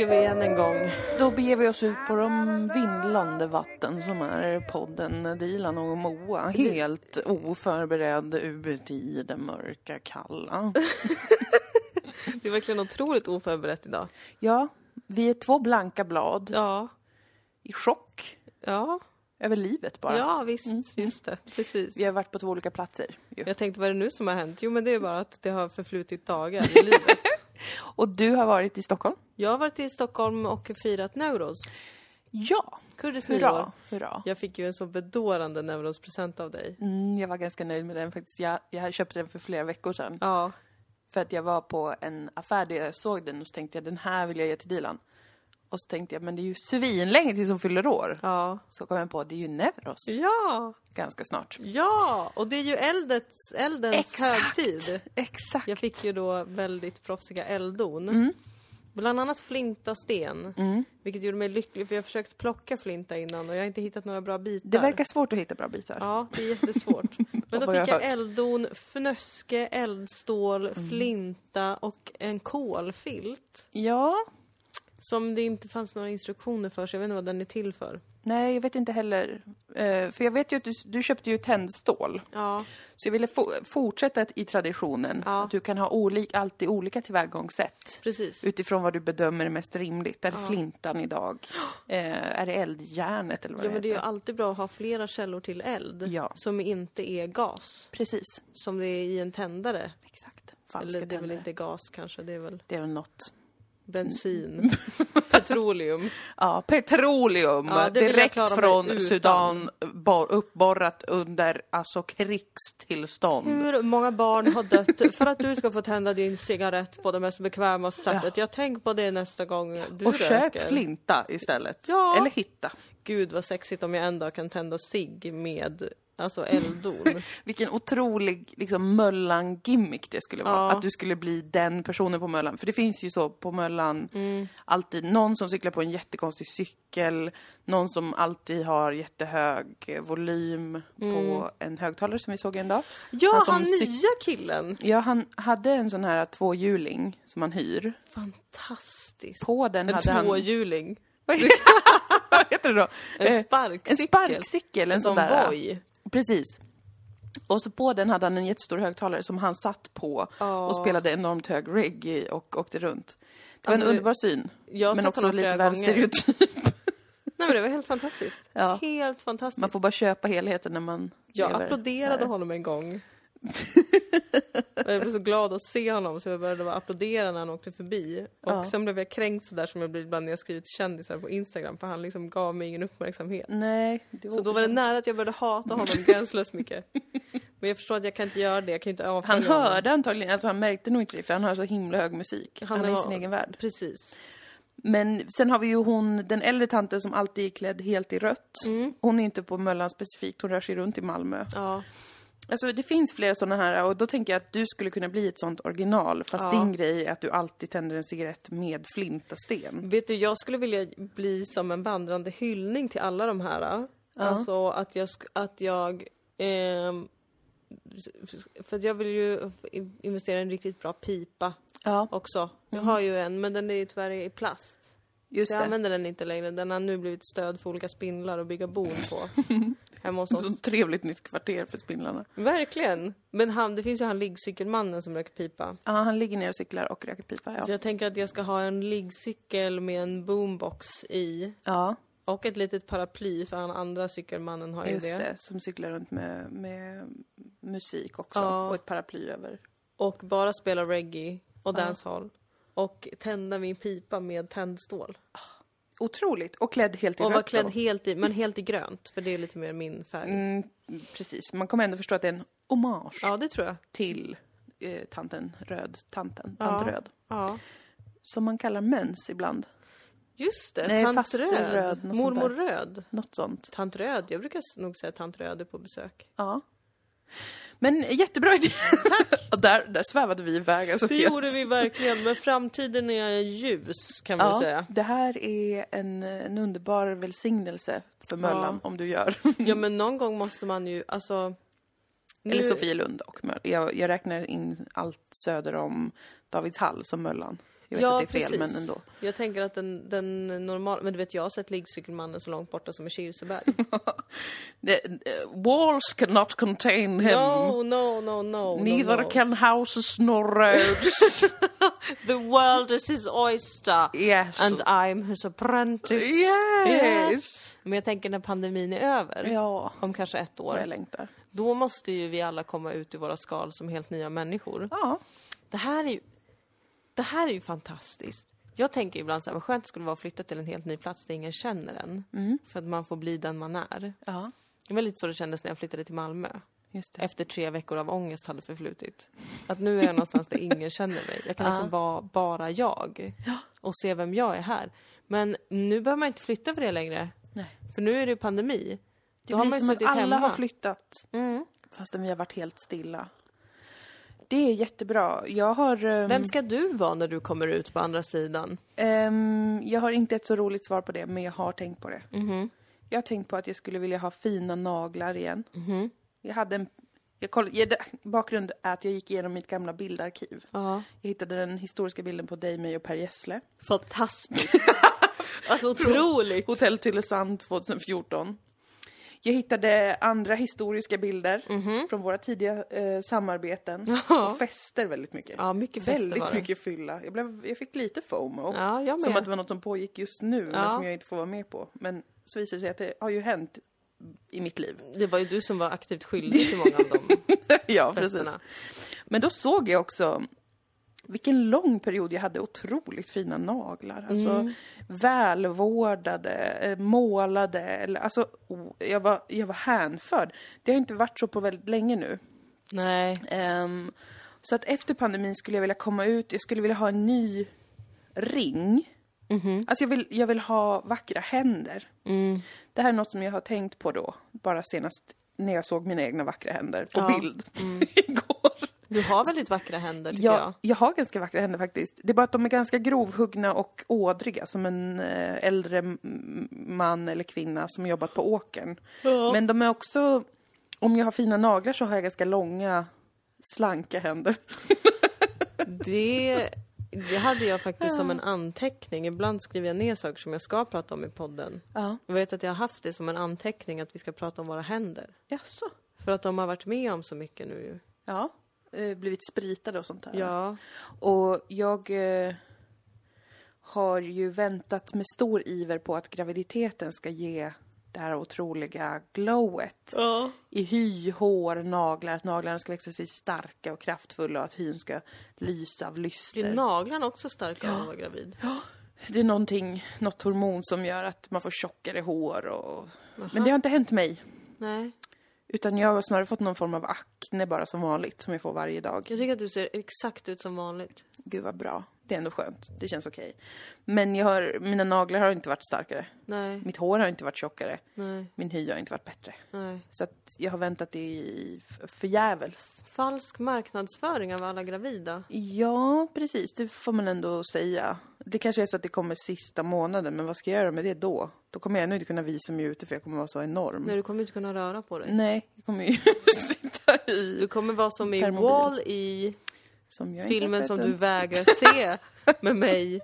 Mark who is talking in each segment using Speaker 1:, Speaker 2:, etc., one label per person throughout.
Speaker 1: än en gång.
Speaker 2: Då beger vi oss ut på de vindlande vatten som är podden Dilan och Moa. Helt oförberedd ut i det mörka, kalla.
Speaker 1: Det är verkligen otroligt oförberett idag.
Speaker 2: Ja, vi är två blanka blad
Speaker 1: Ja,
Speaker 2: i chock
Speaker 1: ja,
Speaker 2: över livet bara.
Speaker 1: ja visst, just det, precis.
Speaker 2: Vi har varit på två olika platser. Ju.
Speaker 1: Jag tänkte, vad är det nu som har hänt? Jo, men det är bara att det har förflutit dagar i livet.
Speaker 2: Och du har varit i Stockholm?
Speaker 1: Jag har varit i Stockholm och firat Neuros,
Speaker 2: Ja,
Speaker 1: kurdiskt nyår.
Speaker 2: hurra, hurra.
Speaker 1: Jag fick ju en så bedårande Neuros-present av dig.
Speaker 2: Mm, jag var ganska nöjd med den faktiskt. Jag, jag köpte den för flera veckor sedan.
Speaker 1: Ja,
Speaker 2: För att jag var på en affär där jag såg den och så tänkte jag den här vill jag ge till Dilan. Och så tänkte jag men det är ju svinlänge tills hon fyller år.
Speaker 1: ja,
Speaker 2: Så kom jag på det är ju Neuros
Speaker 1: ja,
Speaker 2: ganska snart.
Speaker 1: ja! Och det är ju eldets, eldens högtid.
Speaker 2: Exakt!
Speaker 1: Jag fick ju då väldigt proffsiga elddon.
Speaker 2: Mm.
Speaker 1: Bland annat flintasten, vilket gjorde mig lycklig för jag har försökt plocka flinta innan och jag har inte hittat några bra bitar.
Speaker 2: Det verkar svårt att hitta bra bitar.
Speaker 1: Ja, det är jättesvårt. Men
Speaker 2: Vad
Speaker 1: då
Speaker 2: har jag
Speaker 1: fick jag
Speaker 2: hört? Mm.
Speaker 1: elddon, fnöske, eldstål, flinta och en kolfilt.
Speaker 2: Ja.
Speaker 1: Som det inte fanns några instruktioner för, så jag vet inte vad den är till för.
Speaker 2: Nej, jag vet inte heller. Eh, för jag vet ju att du, du köpte ju tändstål.
Speaker 1: Ja,
Speaker 2: Så jag ville fo- fortsätta i traditionen.
Speaker 1: Ja.
Speaker 2: Att du kan ha olik, alltid olika tillvägagångssätt.
Speaker 1: precis.
Speaker 2: Utifrån vad du bedömer är mest rimligt. Är det flintan idag? Eh, är det eldjärnet eller vad
Speaker 1: Ja, men det är ju
Speaker 2: heter?
Speaker 1: alltid bra att ha flera källor till eld
Speaker 2: Ja.
Speaker 1: som inte är gas,
Speaker 2: Precis.
Speaker 1: som det är i en tändare.
Speaker 2: Exakt. Falska
Speaker 1: Eller det är väl
Speaker 2: tändare.
Speaker 1: inte gas kanske, det är väl
Speaker 2: Det är väl något.
Speaker 1: bensin, petroleum.
Speaker 2: Ja, petroleum.
Speaker 1: Ja, det vill jag
Speaker 2: direkt
Speaker 1: klara mig
Speaker 2: från
Speaker 1: utan.
Speaker 2: Sudan, bor, uppborrat under alltså krigstillstånd.
Speaker 1: Hur många barn har dött för att du ska få tända din cigarett på det mest bekväma sättet? Jag tänker på det nästa gång du
Speaker 2: Och
Speaker 1: röker.
Speaker 2: köp flinta istället.
Speaker 1: Ja.
Speaker 2: Eller hitta.
Speaker 1: Gud vad sexigt om jag en dag kan tända cigg med alltså elddon.
Speaker 2: Vilken otrolig liksom, Möllan-gimmick det skulle vara.
Speaker 1: Ja.
Speaker 2: Att du skulle bli den personen på Möllan. För det finns ju så på Möllan,
Speaker 1: Mm.
Speaker 2: alltid någon som cyklar på en jättekonstig cykel, någon som alltid har jättehög eh, volym
Speaker 1: Mm.
Speaker 2: på en högtalare som vi såg en dag.
Speaker 1: Ja,
Speaker 2: som
Speaker 1: han
Speaker 2: cyk-
Speaker 1: nya Alltså, killen!
Speaker 2: Ja, han hade en sån här tvåhjuling som han hyr.
Speaker 1: Fantastiskt!
Speaker 2: På den
Speaker 1: en
Speaker 2: hade han...
Speaker 1: tvåhjuling.
Speaker 2: Vad heter det då? Eh,
Speaker 1: En sparkcykel.
Speaker 2: en sparkcykel, en,
Speaker 1: En
Speaker 2: sån
Speaker 1: sån
Speaker 2: där.
Speaker 1: voj.
Speaker 2: Precis. Och så på den hade han en jättestor högtalare som han satt på och spelade enormt hög reggae och åkte runt. Det var en
Speaker 1: Alltså,
Speaker 2: underbar syn,
Speaker 1: Jag har
Speaker 2: men
Speaker 1: sett
Speaker 2: också
Speaker 1: honom
Speaker 2: lite
Speaker 1: flera
Speaker 2: väl
Speaker 1: gånger.
Speaker 2: stereotyp.
Speaker 1: Nej men det var helt fantastiskt.
Speaker 2: Ja.
Speaker 1: Helt fantastiskt.
Speaker 2: Man får bara köpa helheten när man
Speaker 1: Jag
Speaker 2: lever.
Speaker 1: applåderade honom en gång. Och jag blev så glad att se honom så jag började bara applådera när han åkte förbi. Och
Speaker 2: Ja.
Speaker 1: sen blev jag kränkt sådär som jag blir ibland när jag skriver till kändisar på Instagram för han liksom gav mig ingen uppmärksamhet.
Speaker 2: Nej, det var...
Speaker 1: Så då var det nära att jag började hata honom gränslöst mycket. Men jag förstår att jag kan inte göra det, jag kan inte avfölja
Speaker 2: Han
Speaker 1: honom.
Speaker 2: hörde antagligen, alltså han märkte nog inte det för han hör så himla hög musik. Han, är i
Speaker 1: var-
Speaker 2: sin egen värld.
Speaker 1: Precis.
Speaker 2: Men sen har vi ju hon, den äldre tanten som alltid är klädd helt i rött.
Speaker 1: Mm.
Speaker 2: Hon är inte på Möllan specifikt, hon rör sig runt i Malmö.
Speaker 1: Ja.
Speaker 2: Alltså det finns flera sådana här och då tänker jag att du skulle kunna bli ett sånt original fast
Speaker 1: Ja.
Speaker 2: din grej är att du alltid tänder en cigarett med flintasten.
Speaker 1: Vet du, jag skulle vilja bli som en vandrande hyllning till alla de här. Alltså att jag... sk- Att jag ehm, för att jag vill ju investera i en riktigt bra pipa
Speaker 2: Ja,
Speaker 1: också. Jag har ju en, men den är ju tyvärr i plast.
Speaker 2: Mhm. just
Speaker 1: Så jag
Speaker 2: det.
Speaker 1: använder den inte längre. Den har nu blivit stöd för olika spindlar att bygga bon på. hemma hos
Speaker 2: Så
Speaker 1: oss.
Speaker 2: ett trevligt nytt kvarter för spindlarna.
Speaker 1: Verkligen! Men han, det finns ju han liggcykelmannen som röker pipa.
Speaker 2: Ja, han ligger ner och cyklar och röker pipa.
Speaker 1: Så
Speaker 2: Ja.
Speaker 1: jag tänker att jag ska ha en liggcykel med en boombox i.
Speaker 2: ja,
Speaker 1: Och ett litet paraply för han andra cykelmannen har ju
Speaker 2: just
Speaker 1: det.
Speaker 2: det. Som cyklar runt med, med musik också
Speaker 1: Ja.
Speaker 2: och ett paraply över.
Speaker 1: Och bara spela reggae och dancehall. Och tända min pipa med tändstål.
Speaker 2: Otroligt! Och klädd helt i
Speaker 1: Och
Speaker 2: rött.
Speaker 1: vara klädd
Speaker 2: då.
Speaker 1: helt i, men helt i grönt. För det är lite mer min färg.
Speaker 2: mm, precis, man kommer ändå förstå att det är en hommage
Speaker 1: Ja, det tror jag.
Speaker 2: till eh, tanten Röd, tanten, tant
Speaker 1: Ja.
Speaker 2: Röd.
Speaker 1: Ja.
Speaker 2: Som man kallar mens ibland.
Speaker 1: Just det,
Speaker 2: Nej,
Speaker 1: tant
Speaker 2: faster
Speaker 1: röd.
Speaker 2: Röd, något sånt
Speaker 1: Mormor röd.
Speaker 2: Något sånt.
Speaker 1: Tant röd. Jag brukar s- nog säga tant röd är på besök.
Speaker 2: Ja. Men jättebra idé. och där, där svävade vi iväg. Alltså,
Speaker 1: Det
Speaker 2: helt-
Speaker 1: gjorde vi verkligen, men framtiden är ljus kan man
Speaker 2: ja,
Speaker 1: säga.
Speaker 2: Det här är en, en underbar välsignelse för Möllan om du gör.
Speaker 1: Ja men någon gång måste man ju, alltså... Nu,
Speaker 2: Mm. Eller Sofielund och Möllan. Jag, jag räknar in allt söder om Davidshall som Möllan. Jag vet
Speaker 1: Ja,
Speaker 2: att det är fel,
Speaker 1: precis.
Speaker 2: men ändå.
Speaker 1: Jag tänker att den, den normala, men du vet jag har sett liggcykelmannen så långt borta som i Kirseberg.
Speaker 2: The, eh, walls cannot contain him.
Speaker 1: No, no, no, no.
Speaker 2: Neither
Speaker 1: no, no.
Speaker 2: can houses nor roads.
Speaker 1: The world is his oyster.
Speaker 2: yes.
Speaker 1: And I'm his apprentice.
Speaker 2: yes.
Speaker 1: Men jag tänker när pandemin är över,
Speaker 2: Ja.
Speaker 1: om kanske ett
Speaker 2: Vad jag
Speaker 1: år,
Speaker 2: längtar.
Speaker 1: då måste ju vi alla komma ut ur våra skal som helt nya människor.
Speaker 2: Ja.
Speaker 1: Det här är ju, det här är ju fantastiskt. Jag tänker ibland så här, vad skönt det skulle vara att flytta till en helt ny plats där ingen känner en.
Speaker 2: Mm.
Speaker 1: För att man får bli den man är.
Speaker 2: ja.
Speaker 1: Det var lite så det kändes när jag flyttade till Malmö.
Speaker 2: Just det.
Speaker 1: Efter tre veckor av ångest hade förflutit. Att nu är jag någonstans där ingen känner mig. Jag kan liksom vara bara jag. Och se vem jag är här. Men nu behöver man inte flytta för det längre.
Speaker 2: Nej.
Speaker 1: För nu är det ju pandemi. Då
Speaker 2: Det
Speaker 1: har
Speaker 2: blir
Speaker 1: man ju
Speaker 2: som att
Speaker 1: suttit
Speaker 2: alla
Speaker 1: hemma.
Speaker 2: har flyttat.
Speaker 1: Mm.
Speaker 2: Fastän vi har varit helt stilla. Det är jättebra. Jag har... ehm,
Speaker 1: Vem ska du vara när du kommer ut på andra sidan?
Speaker 2: Ehm, jag har inte ett så roligt svar på det, men jag har tänkt på det.
Speaker 1: Mm-hmm.
Speaker 2: Jag har tänkt på att jag skulle vilja ha fina naglar igen.
Speaker 1: Mm-hmm.
Speaker 2: Jag hade en... Jag koll, jag, bakgrund är att jag gick igenom mitt gamla bildarkiv.
Speaker 1: Ja.
Speaker 2: Jag hittade den historiska bilden på dig, mig och Per Gessle.
Speaker 1: Fantastiskt! alltså otroligt!
Speaker 2: Hotell Tylösand 2014. Jag hittade andra historiska bilder
Speaker 1: Mhm.
Speaker 2: från våra tidiga eh, samarbeten. Och fester väldigt mycket.
Speaker 1: Ja, mycket fester
Speaker 2: Väldigt
Speaker 1: var det.
Speaker 2: mycket fylla. Jag, blev, jag fick lite FOMO.
Speaker 1: Ja, jag med.
Speaker 2: Som att det var något som pågick just nu,
Speaker 1: Ja.
Speaker 2: men som jag inte får vara med på. Men så visar det sig att det har ju hänt i mitt liv.
Speaker 1: Det var ju du som var aktivt skyldig till många av de
Speaker 2: ja, precis.
Speaker 1: festerna.
Speaker 2: Men då såg jag också vilken lång period jag hade otroligt fina naglar. Alltså välvårdade, eh, målade. Eller, alltså, oh, jag, var, jag var hänförd. Det har inte varit så på väldigt länge nu.
Speaker 1: Nej.
Speaker 2: Ehm, så att efter pandemin skulle jag vilja komma ut, jag skulle vilja ha en ny ring. Alltså jag vill, jag vill ha vackra händer. Det här är något som jag har tänkt på då, bara senast när jag såg mina egna vackra händer på
Speaker 1: Ja.
Speaker 2: bild igår.
Speaker 1: Du har väldigt vackra händer tycker
Speaker 2: Jag,
Speaker 1: jag.
Speaker 2: jag har ganska vackra händer faktiskt. Det är bara att de är ganska grovhuggna och ådriga som en eh, äldre m- man eller kvinna som jobbat på åkern. Men de är också, om jag har fina naglar så har jag ganska långa, slanka händer.
Speaker 1: Det, det hade jag faktiskt som en anteckning. Ibland skriver jag ner saker som jag ska prata om i podden.
Speaker 2: Ja.
Speaker 1: Jag vet att jag har haft det som en anteckning att vi ska prata om våra händer.
Speaker 2: Jaså?
Speaker 1: För att de har varit med om så mycket nu ju.
Speaker 2: Ja. Eh, Blivit spritade och sånt där.
Speaker 1: Ja.
Speaker 2: Och jag eh, har ju väntat med stor iver på att graviditeten ska ge det här otroliga glowet.
Speaker 1: Ja.
Speaker 2: i hy, hår, naglar, att naglarna ska växa sig starka och kraftfulla och att hyn ska lysa av
Speaker 1: Blir
Speaker 2: lyster.
Speaker 1: naglarna också starka av att vara gravid?
Speaker 2: Det är någonting, något hormon som gör att man får tjockare hår och... Men det har inte hänt mig.
Speaker 1: Nej.
Speaker 2: Utan jag har snarare fått någon form av akne bara som vanligt, som jag får varje dag.
Speaker 1: Jag tycker att du ser exakt ut som vanligt.
Speaker 2: Gud vad bra. Det är ändå skönt. Det känns okej. Men jag har, mina naglar har inte varit starkare.
Speaker 1: Nej,
Speaker 2: Mitt hår har inte varit tjockare.
Speaker 1: nej,
Speaker 2: Min hy har inte varit bättre.
Speaker 1: nej.
Speaker 2: Så att jag har väntat i f- förgäves.
Speaker 1: Falsk marknadsföring av alla gravida.
Speaker 2: Ja, precis. Det får man ändå säga. Det kanske är så att det kommer sista månaden, men vad ska jag göra med det då? Då kommer jag ännu inte kunna visa mig ute för jag kommer vara så enorm.
Speaker 1: Nej, du kommer inte kunna röra på dig.
Speaker 2: Nej, jag kommer ju sitta i...
Speaker 1: Du kommer vara som i
Speaker 2: Per mobil.
Speaker 1: Wall i
Speaker 2: Som jag inte har
Speaker 1: filmen
Speaker 2: sett
Speaker 1: som
Speaker 2: än.
Speaker 1: du vägrar se med mig.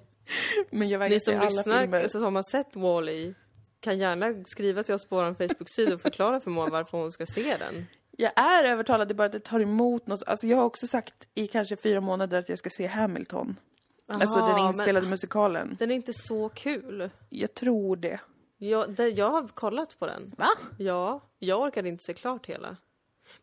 Speaker 2: Men jag vägrar
Speaker 1: Ni
Speaker 2: se
Speaker 1: som
Speaker 2: alla
Speaker 1: lyssnar alltså-
Speaker 2: filmer.
Speaker 1: så som har sett Wall i kan gärna skriva till oss på vår Facebook-sida och förklara för Moa varför hon ska se den.
Speaker 2: Jag är övertalad, det är bara att det tar emot något. Alltså jag har också sagt i kanske fyra månader att jag ska se Hamilton. alltså
Speaker 1: Aha,
Speaker 2: den
Speaker 1: men-
Speaker 2: inspelade musikalen.
Speaker 1: Den är inte så kul.
Speaker 2: Jag tror det.
Speaker 1: Jag, det, jag har kollat på den.
Speaker 2: Va?
Speaker 1: Ja, jag orkade inte se klart hela.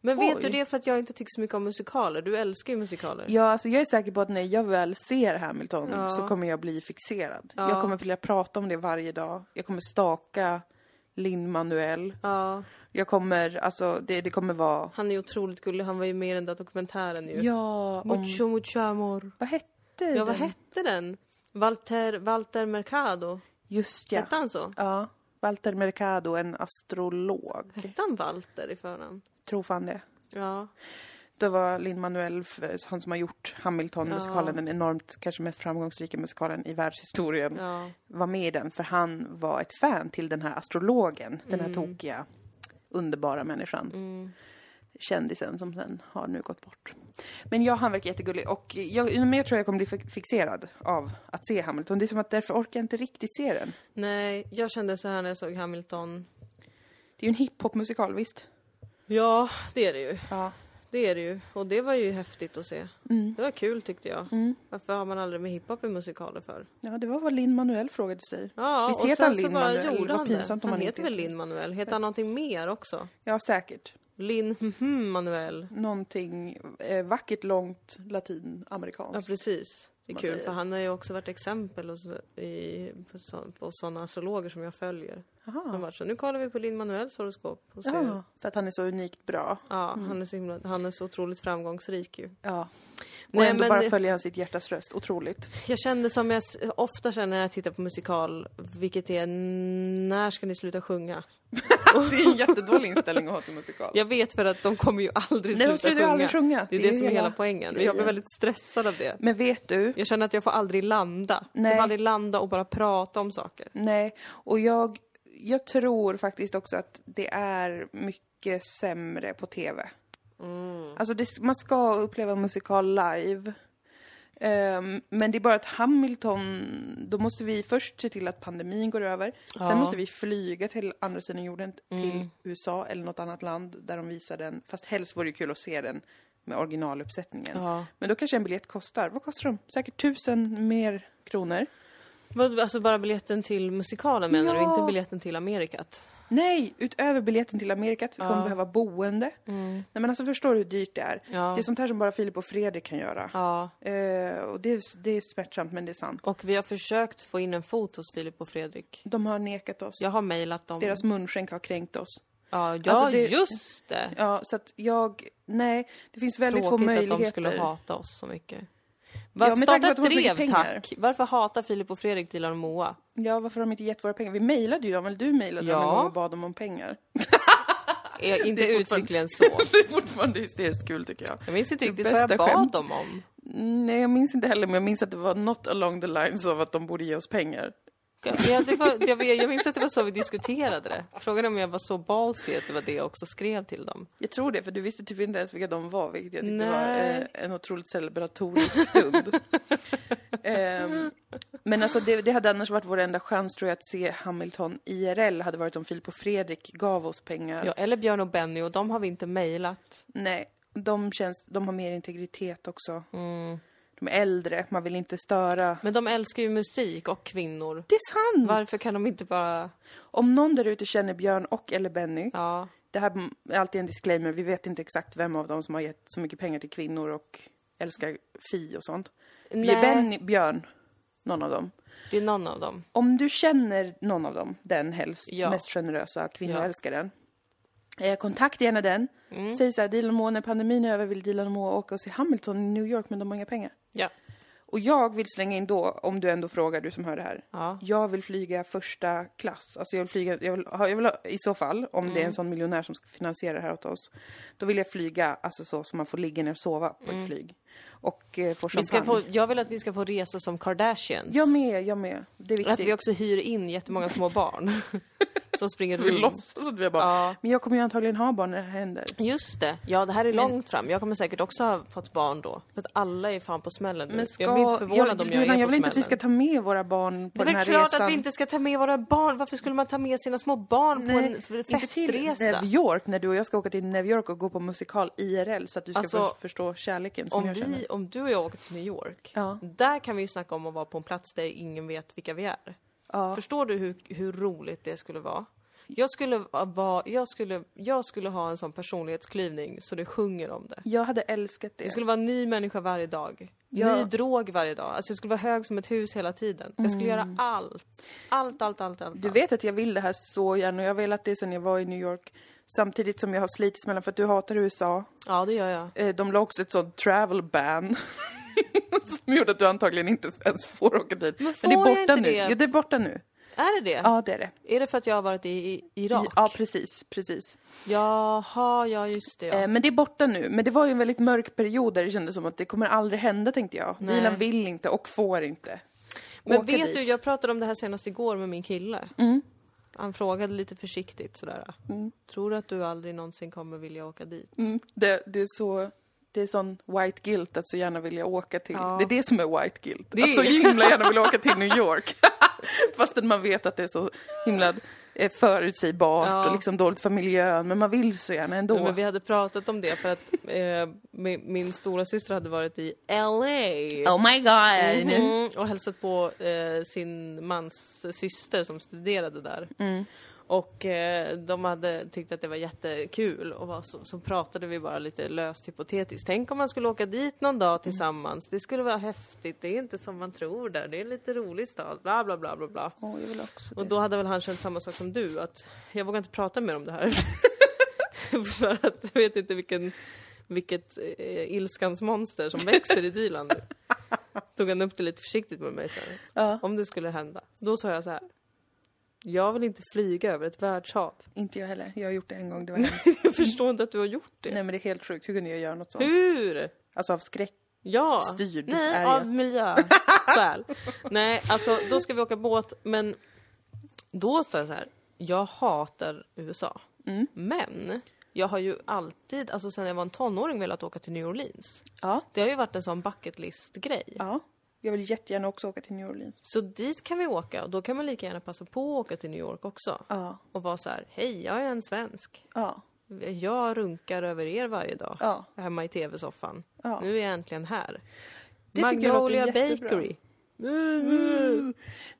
Speaker 1: Men vet
Speaker 2: Oj.
Speaker 1: du det är för att jag inte tycker så mycket om musikaler? Du älskar ju musikaler.
Speaker 2: Ja, alltså jag är säker på att när jag väl ser Hamilton så kommer jag bli fixerad. Jag kommer vilja prata om det varje dag. Jag kommer staka Lin-Manuel.
Speaker 1: Ja,
Speaker 2: Jag kommer, alltså det, det kommer vara...
Speaker 1: han är otroligt gullig. Han var ju med i den där dokumentären ju.
Speaker 2: Ja, om...
Speaker 1: Mucho mucho amor.
Speaker 2: Vad hette
Speaker 1: Ja, vad
Speaker 2: den?
Speaker 1: hette den? Walter, Walter Mercado?
Speaker 2: Just ja.
Speaker 1: Hette han så?
Speaker 2: Ja. Walter Mercado, en astrolog.
Speaker 1: Hette han Walter i förnamn?
Speaker 2: Tror fan det.
Speaker 1: Ja.
Speaker 2: Det var Lin-Manuel, f- han som har gjort Hamilton-musikalen, den enormt kanske mest framgångsrika musikalen i världshistorien,
Speaker 1: Ja.
Speaker 2: var med i den för han var ett fan till den här astrologen, den här tokiga, underbara människan. kändisen som sen har nu gått bort. Men ja, han verkar jättegullig och jag, ju mer tror jag jag kommer bli fi- fixerad av att se Hamilton. Det är som att därför orkar jag inte riktigt se den.
Speaker 1: Nej, jag kände så här när jag såg Hamilton.
Speaker 2: Det är ju en hiphopmusikal, visst?
Speaker 1: Ja, det är det ju.
Speaker 2: Ja.
Speaker 1: Det är det ju. Och det var ju häftigt att se.
Speaker 2: Mm.
Speaker 1: Det var kul tyckte jag.
Speaker 2: Mm.
Speaker 1: Varför har man aldrig med hiphop i musikaler för?
Speaker 2: Ja, det var vad Linn Manuel frågade sig.
Speaker 1: Ja,
Speaker 2: Visst
Speaker 1: och
Speaker 2: heter
Speaker 1: sen
Speaker 2: han
Speaker 1: så
Speaker 2: Lin
Speaker 1: bara
Speaker 2: Manuel?
Speaker 1: gjorde
Speaker 2: Vad
Speaker 1: han det.
Speaker 2: pinsamt om
Speaker 1: han
Speaker 2: han
Speaker 1: heter
Speaker 2: inte
Speaker 1: väl
Speaker 2: heter.
Speaker 1: Lin Manuel? Heter han någonting mer också?
Speaker 2: Ja, säkert.
Speaker 1: Lin mhm, Manuel.
Speaker 2: Någonting eh, vackert, långt,
Speaker 1: Ja,
Speaker 2: latinamerikanskt.
Speaker 1: precis. Det är
Speaker 2: man
Speaker 1: kul,
Speaker 2: säger.
Speaker 1: för han har ju också varit exempel hos, i, på, så, på sådana astrologer som jag följer. De har
Speaker 2: Aha.
Speaker 1: varit så, nu kollar vi på Lin Manuels horoskop och ser.
Speaker 2: Ja, för att han är så unikt bra.
Speaker 1: Ja, han, är så himla, han är så otroligt framgångsrik ju.
Speaker 2: Ja. Mm. Och
Speaker 1: Nej,
Speaker 2: ändå
Speaker 1: men
Speaker 2: bara
Speaker 1: det-
Speaker 2: följer han sitt hjärtas röst. Otroligt.
Speaker 1: Jag känner som jag s- ofta känner när jag tittar på musikal, vilket är när ska ni sluta sjunga?
Speaker 2: Det är en jättedålig inställning att ha till musikal.
Speaker 1: Jag vet för att de kommer ju aldrig
Speaker 2: Nej,
Speaker 1: sluta
Speaker 2: de slutar ju
Speaker 1: sjunga.
Speaker 2: aldrig sjunga.
Speaker 1: Det är det, som är hela poängen. Men jag blir väldigt stressad av det.
Speaker 2: Men vet du?
Speaker 1: Jag känner att jag får aldrig landa. Jag
Speaker 2: Nej.
Speaker 1: får aldrig landa och bara prata om saker.
Speaker 2: Nej. Och jag, jag tror faktiskt också att det är mycket sämre på TV.
Speaker 1: Mm.
Speaker 2: Alltså det, man ska uppleva musikal live. Ehm, men det är bara att Hamilton, då måste vi först se till att pandemin går över.
Speaker 1: Ja. Mm.
Speaker 2: Sen måste vi flyga till andra sidan jorden, till USA eller något annat land där de visar den. Fast helst vore det kul att se den med originaluppsättningen.
Speaker 1: Ja.
Speaker 2: Men då kanske en biljett kostar, vad kostar de? Säkert tusen mer kronor.
Speaker 1: Vad- Alltså bara biljetten till musikalen menar du,
Speaker 2: Ja.
Speaker 1: inte biljetten till Amerikat?
Speaker 2: Nej, utöver biljetten till Amerika, att vi kommer behöva boende. Nej men alltså förstår du hur dyrt det är?
Speaker 1: Ja.
Speaker 2: Det är sånt här som bara Filip och Fredrik kan göra.
Speaker 1: Ja.
Speaker 2: Eh, och det är, det är smärtsamt men det är sant.
Speaker 1: Och vi har försökt få in en fot hos Filip och Fredrik.
Speaker 2: De har nekat oss.
Speaker 1: Jag har mejlat dem.
Speaker 2: Deras munskänk har kränkt oss.
Speaker 1: Ja, ja
Speaker 2: Alltså, det-
Speaker 1: just det!
Speaker 2: Ja, så att jag, nej, det finns väldigt få
Speaker 1: Tråkigt
Speaker 2: möjligheter.
Speaker 1: att de skulle hata oss så mycket.
Speaker 2: Ja,
Speaker 1: Var,
Speaker 2: med tanke
Speaker 1: starta
Speaker 2: på
Speaker 1: ett
Speaker 2: att de får
Speaker 1: drev
Speaker 2: mycket pengar.
Speaker 1: tack! Varför hatar Filip och Fredrik Dilan och Moa?
Speaker 2: Ja, varför har de inte gett våra pengar? Vi mejlade ju dem, eller du mejlade
Speaker 1: Ja.
Speaker 2: dem en gång och bad dem om pengar.
Speaker 1: Är inte
Speaker 2: fortfarande-
Speaker 1: uttryckligen så.
Speaker 2: det är fortfarande hysteriskt kul tycker jag.
Speaker 1: Jag minns inte riktigt vad
Speaker 2: bästa
Speaker 1: jag bad
Speaker 2: skämt.
Speaker 1: dem om.
Speaker 2: Nej, jag minns inte heller, men jag minns att det var något along the lines av att de borde ge oss pengar.
Speaker 1: Ja, det var, jag, jag minns att det var så vi diskuterade det. Frågan är om jag var så ballsy att det var det jag också skrev till dem.
Speaker 2: Jag tror det, för du visste typ inte ens vilka de var, vilket jag tyckte
Speaker 1: Nej.
Speaker 2: var eh, en otroligt celebratorisk stund. Ehm, men alltså det, det hade annars varit vår enda chans tror jag att se Hamilton IRL hade varit om Filip och Fredrik gav oss pengar.
Speaker 1: Ja, eller Björn och Benny och de har vi inte mejlat.
Speaker 2: Nej, de känns, de har mer integritet också. De är äldre, man vill inte störa.
Speaker 1: Men de älskar ju musik och kvinnor.
Speaker 2: Det är sant!
Speaker 1: Varför kan de inte bara...
Speaker 2: Om någon där ute känner Björn och eller Benny,
Speaker 1: Ja,
Speaker 2: det här är alltid en disclaimer, vi vet inte exakt vem av dem som har gett så mycket pengar till kvinnor och älskar Fi och sånt.
Speaker 1: Nej.
Speaker 2: Nej. Benny, Björn, någon av dem.
Speaker 1: det är någon av dem.
Speaker 2: Om du känner någon av dem, den helst,
Speaker 1: Ja.
Speaker 2: mest generösa kvinnoälskaren, eh, kontakta gärna den.
Speaker 1: Mm.
Speaker 2: Säg så här, Dilan och Moa, när pandemin är över vill Dilan och Moa åka och se Hamilton i New York men de har inga pengar.
Speaker 1: Ja.
Speaker 2: Och jag vill slänga in då, om du ändå frågar, du som hör det här.
Speaker 1: Ja.
Speaker 2: Jag vill flyga första klass. Alltså jag vill flyga, jag vill, ha- jag vill ha, i så fall, om det är
Speaker 1: Mm.
Speaker 2: en sån miljonär som ska finansiera det här åt oss. Då vill jag flyga, alltså så, som man får ligga ner och sova på ett flyg. Och eh, få champagne.
Speaker 1: Mm. Vi ska få, jag vill att vi ska få resa som Kardashians.
Speaker 2: Jag med, jag med. Det är viktigt.
Speaker 1: att vi också hyr in jättemånga små barn. som springer
Speaker 2: vi
Speaker 1: runt.
Speaker 2: låtsas att vi bara...
Speaker 1: Ja.
Speaker 2: Men jag kommer ju antagligen ha barn när det här händer.
Speaker 1: Just det. Ja, det här är
Speaker 2: Mm.
Speaker 1: långt fram. Jag kommer säkert också ha fått barn då. För att alla är fan på smällen nu.
Speaker 2: Men ska...
Speaker 1: Jag blir inte förvånad om jag är
Speaker 2: Dylan,
Speaker 1: på
Speaker 2: jag vill inte
Speaker 1: smällen.
Speaker 2: att vi ska ta med våra barn på
Speaker 1: det är
Speaker 2: den här
Speaker 1: väl klart
Speaker 2: resan.
Speaker 1: att vi inte ska ta med våra barn. Varför skulle man ta med sina små barn på en f-
Speaker 2: inte till
Speaker 1: festresa?
Speaker 2: New York, när du och jag ska åka till New York och gå på musikal IRL så att du ska
Speaker 1: Alltså,
Speaker 2: för, förstå kärleken som
Speaker 1: Om,
Speaker 2: jag känner.
Speaker 1: vi, om du och jag åker till New York,
Speaker 2: Ja.
Speaker 1: där kan vi ju snacka om att vara på en plats där ingen vet vilka vi är.
Speaker 2: Ja.
Speaker 1: Förstår du hur, hur roligt det skulle vara? Jag skulle, vara, jag, skulle, jag skulle ha en sån personlighetsklyvning så det sjunger om det.
Speaker 2: Jag hade älskat det.
Speaker 1: Jag skulle vara en ny människa varje dag.
Speaker 2: Ja.
Speaker 1: Ny drog varje dag. Alltså jag skulle vara hög som ett hus hela tiden. Jag skulle göra allt. Allt, allt, allt, allt.
Speaker 2: Mm. Du vet att jag vill det här så gärna och jag har velat det sedan jag var i New York. Samtidigt som jag har slitits mellan, för att du hatar USA.
Speaker 1: Ja, det gör jag.
Speaker 2: Eh, De la också ett sånt travel ban. som gjorde att du antagligen inte ens får åka dit. Men,
Speaker 1: får
Speaker 2: det är
Speaker 1: jag
Speaker 2: borta
Speaker 1: inte
Speaker 2: nu.
Speaker 1: det?
Speaker 2: Ja, det är borta nu.
Speaker 1: Är det det?
Speaker 2: Ja, det är det.
Speaker 1: Är det för att jag har varit i, i Irak?
Speaker 2: I, ja, precis, precis.
Speaker 1: Jaha, ja just det. Ja.
Speaker 2: Eh, Men det är borta nu. Men det var ju en väldigt mörk period där det kändes som att det kommer aldrig hända tänkte jag.
Speaker 1: Nej.
Speaker 2: Dilan vill inte och får inte.
Speaker 1: Men
Speaker 2: åka
Speaker 1: vet
Speaker 2: dit. Mm.
Speaker 1: du, jag pratade om det här senast igår med min kille. Han frågade lite försiktigt sådär. Tror du att du aldrig någonsin kommer vilja åka dit?
Speaker 2: Mm. Det, det är så... Det är sån white guilt att så gärna vilja åka till...
Speaker 1: Ja.
Speaker 2: Det är det som är white guilt.
Speaker 1: Det
Speaker 2: Att så
Speaker 1: är-
Speaker 2: himla gärna vilja åka till New York. Fastän man vet att det är så himla eh, förutsägbart
Speaker 1: Ja.
Speaker 2: och liksom dåligt för miljön. Men man vill så gärna ändå.
Speaker 1: Men vi hade pratat om det för att eh, min, min stora syster hade varit i LA.
Speaker 2: Oh my god!
Speaker 1: Mm, och hälsat på eh, sin mans syster som studerade där. Och eh, de hade tyckt att det var jättekul och var så, så pratade vi bara lite löst hypotetiskt. Tänk om man skulle åka dit någon dag tillsammans. Det skulle vara häftigt. Det är inte som man tror där. Det är en lite rolig stad. Bla bla bla bla bla.
Speaker 2: Åh, jag vill också
Speaker 1: Och
Speaker 2: det.
Speaker 1: då hade väl han känt samma sak som du, att jag vågar inte prata mer om det här. För att jag vet inte vilken, vilket eh, ilskans monster som växer i Dilan nu. Tog han upp det lite försiktigt med mig sen.
Speaker 2: Ja.
Speaker 1: Om det skulle hända. Då sa jag så här. Jag vill inte flyga över ett världshav.
Speaker 2: Inte jag heller. Jag har gjort det en gång. Det var hemskt.
Speaker 1: Jag förstår inte att du har gjort det.
Speaker 2: Nej men det är helt sjukt. Hur kunde jag göra något sånt?
Speaker 1: Hur?
Speaker 2: Alltså av skräck.
Speaker 1: Ja.
Speaker 2: Styrd är
Speaker 1: Nej,
Speaker 2: jag.
Speaker 1: av miljö. Väl. Nej, alltså då ska vi åka båt, men då sa jag så här, jag hatar USA.
Speaker 2: Mm.
Speaker 1: Men jag har ju alltid, alltså sen jag var en tonåring, velat åka till New Orleans.
Speaker 2: Ja.
Speaker 1: Det har ju varit en sån bucket list-grej.
Speaker 2: Ja. Jag vill jättegärna också åka till New Orleans.
Speaker 1: Så dit kan vi åka och då kan man lika gärna passa på att åka till New York också.
Speaker 2: Ja.
Speaker 1: Och vara så här, hej, jag är en svensk.
Speaker 2: Ja.
Speaker 1: Jag runkar över er varje dag.
Speaker 2: Ja.
Speaker 1: Hemma i tv-soffan.
Speaker 2: Ja.
Speaker 1: Nu är jag äntligen här.
Speaker 2: Det tycker jag låter
Speaker 1: Magnolia
Speaker 2: jättebra.
Speaker 1: Bakery.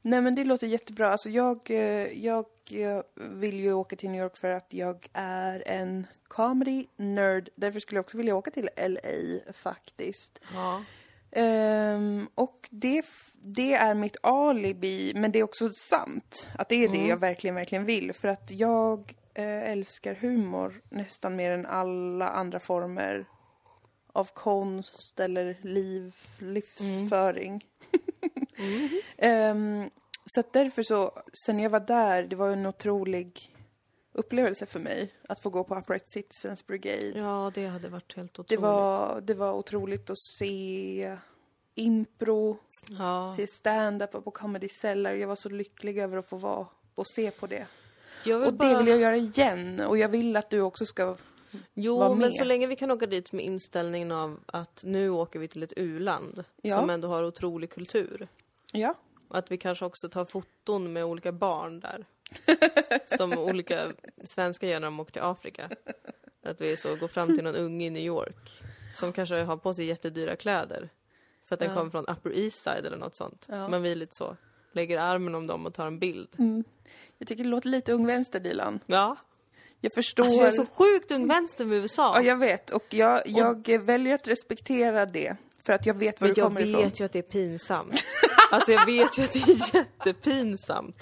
Speaker 2: Nej men det låter jättebra. Alltså jag, eh, jag, eh, vill ju åka till New York för att jag är en comedy nerd. Därför skulle jag också vilja åka till LA faktiskt.
Speaker 1: Ja.
Speaker 2: Ehm, och det, f- det är mitt alibi, men det är också sant att det är det jag verkligen, verkligen vill. För att jag eh, älskar humor nästan mer än alla andra former av konst eller liv, livsföring. Ehm, så att därför så, sen jag var där, det var en otrolig upplevelse för mig att få gå på Upright Citizens Brigade.
Speaker 1: ja, det hade varit helt
Speaker 2: Det
Speaker 1: otroligt.
Speaker 2: var, det var otroligt att se impro,
Speaker 1: ja.
Speaker 2: se stand-up på Comedy Cellar. Jag var så lycklig över att få vara och se på det.
Speaker 1: jag vill
Speaker 2: Och
Speaker 1: bara...
Speaker 2: det vill jag göra igen. Och jag vill att du också ska... vara
Speaker 1: Jo, men
Speaker 2: med.
Speaker 1: så länge vi kan åka dit med inställningen av att nu åker vi till ett u-land
Speaker 2: Ja.
Speaker 1: som ändå har otrolig kultur.
Speaker 2: Ja.
Speaker 1: Och att vi kanske också tar foton med olika barn där. som olika svenskar gör när de åker till Afrika. Att vi så går fram till någon unge i New York som kanske har på sig jättedyra kläder. För att den kommer från Upper East Side eller något sånt. Men vi är lite så, lägger armen om dem och tar en bild.
Speaker 2: Jag tycker det låter lite Ung Vänster, Dilan.
Speaker 1: Ja.
Speaker 2: Jag förstår.
Speaker 1: Alltså jag är så sjukt ung vänster med USA.
Speaker 2: Ja, jag vet. Och jag, jag eh, väljer att respektera det. För att jag vet var
Speaker 1: Men
Speaker 2: du
Speaker 1: jag
Speaker 2: kommer
Speaker 1: vet
Speaker 2: ifrån.
Speaker 1: ju att det är pinsamt. Alltså jag vet ju att det är jättepinsamt.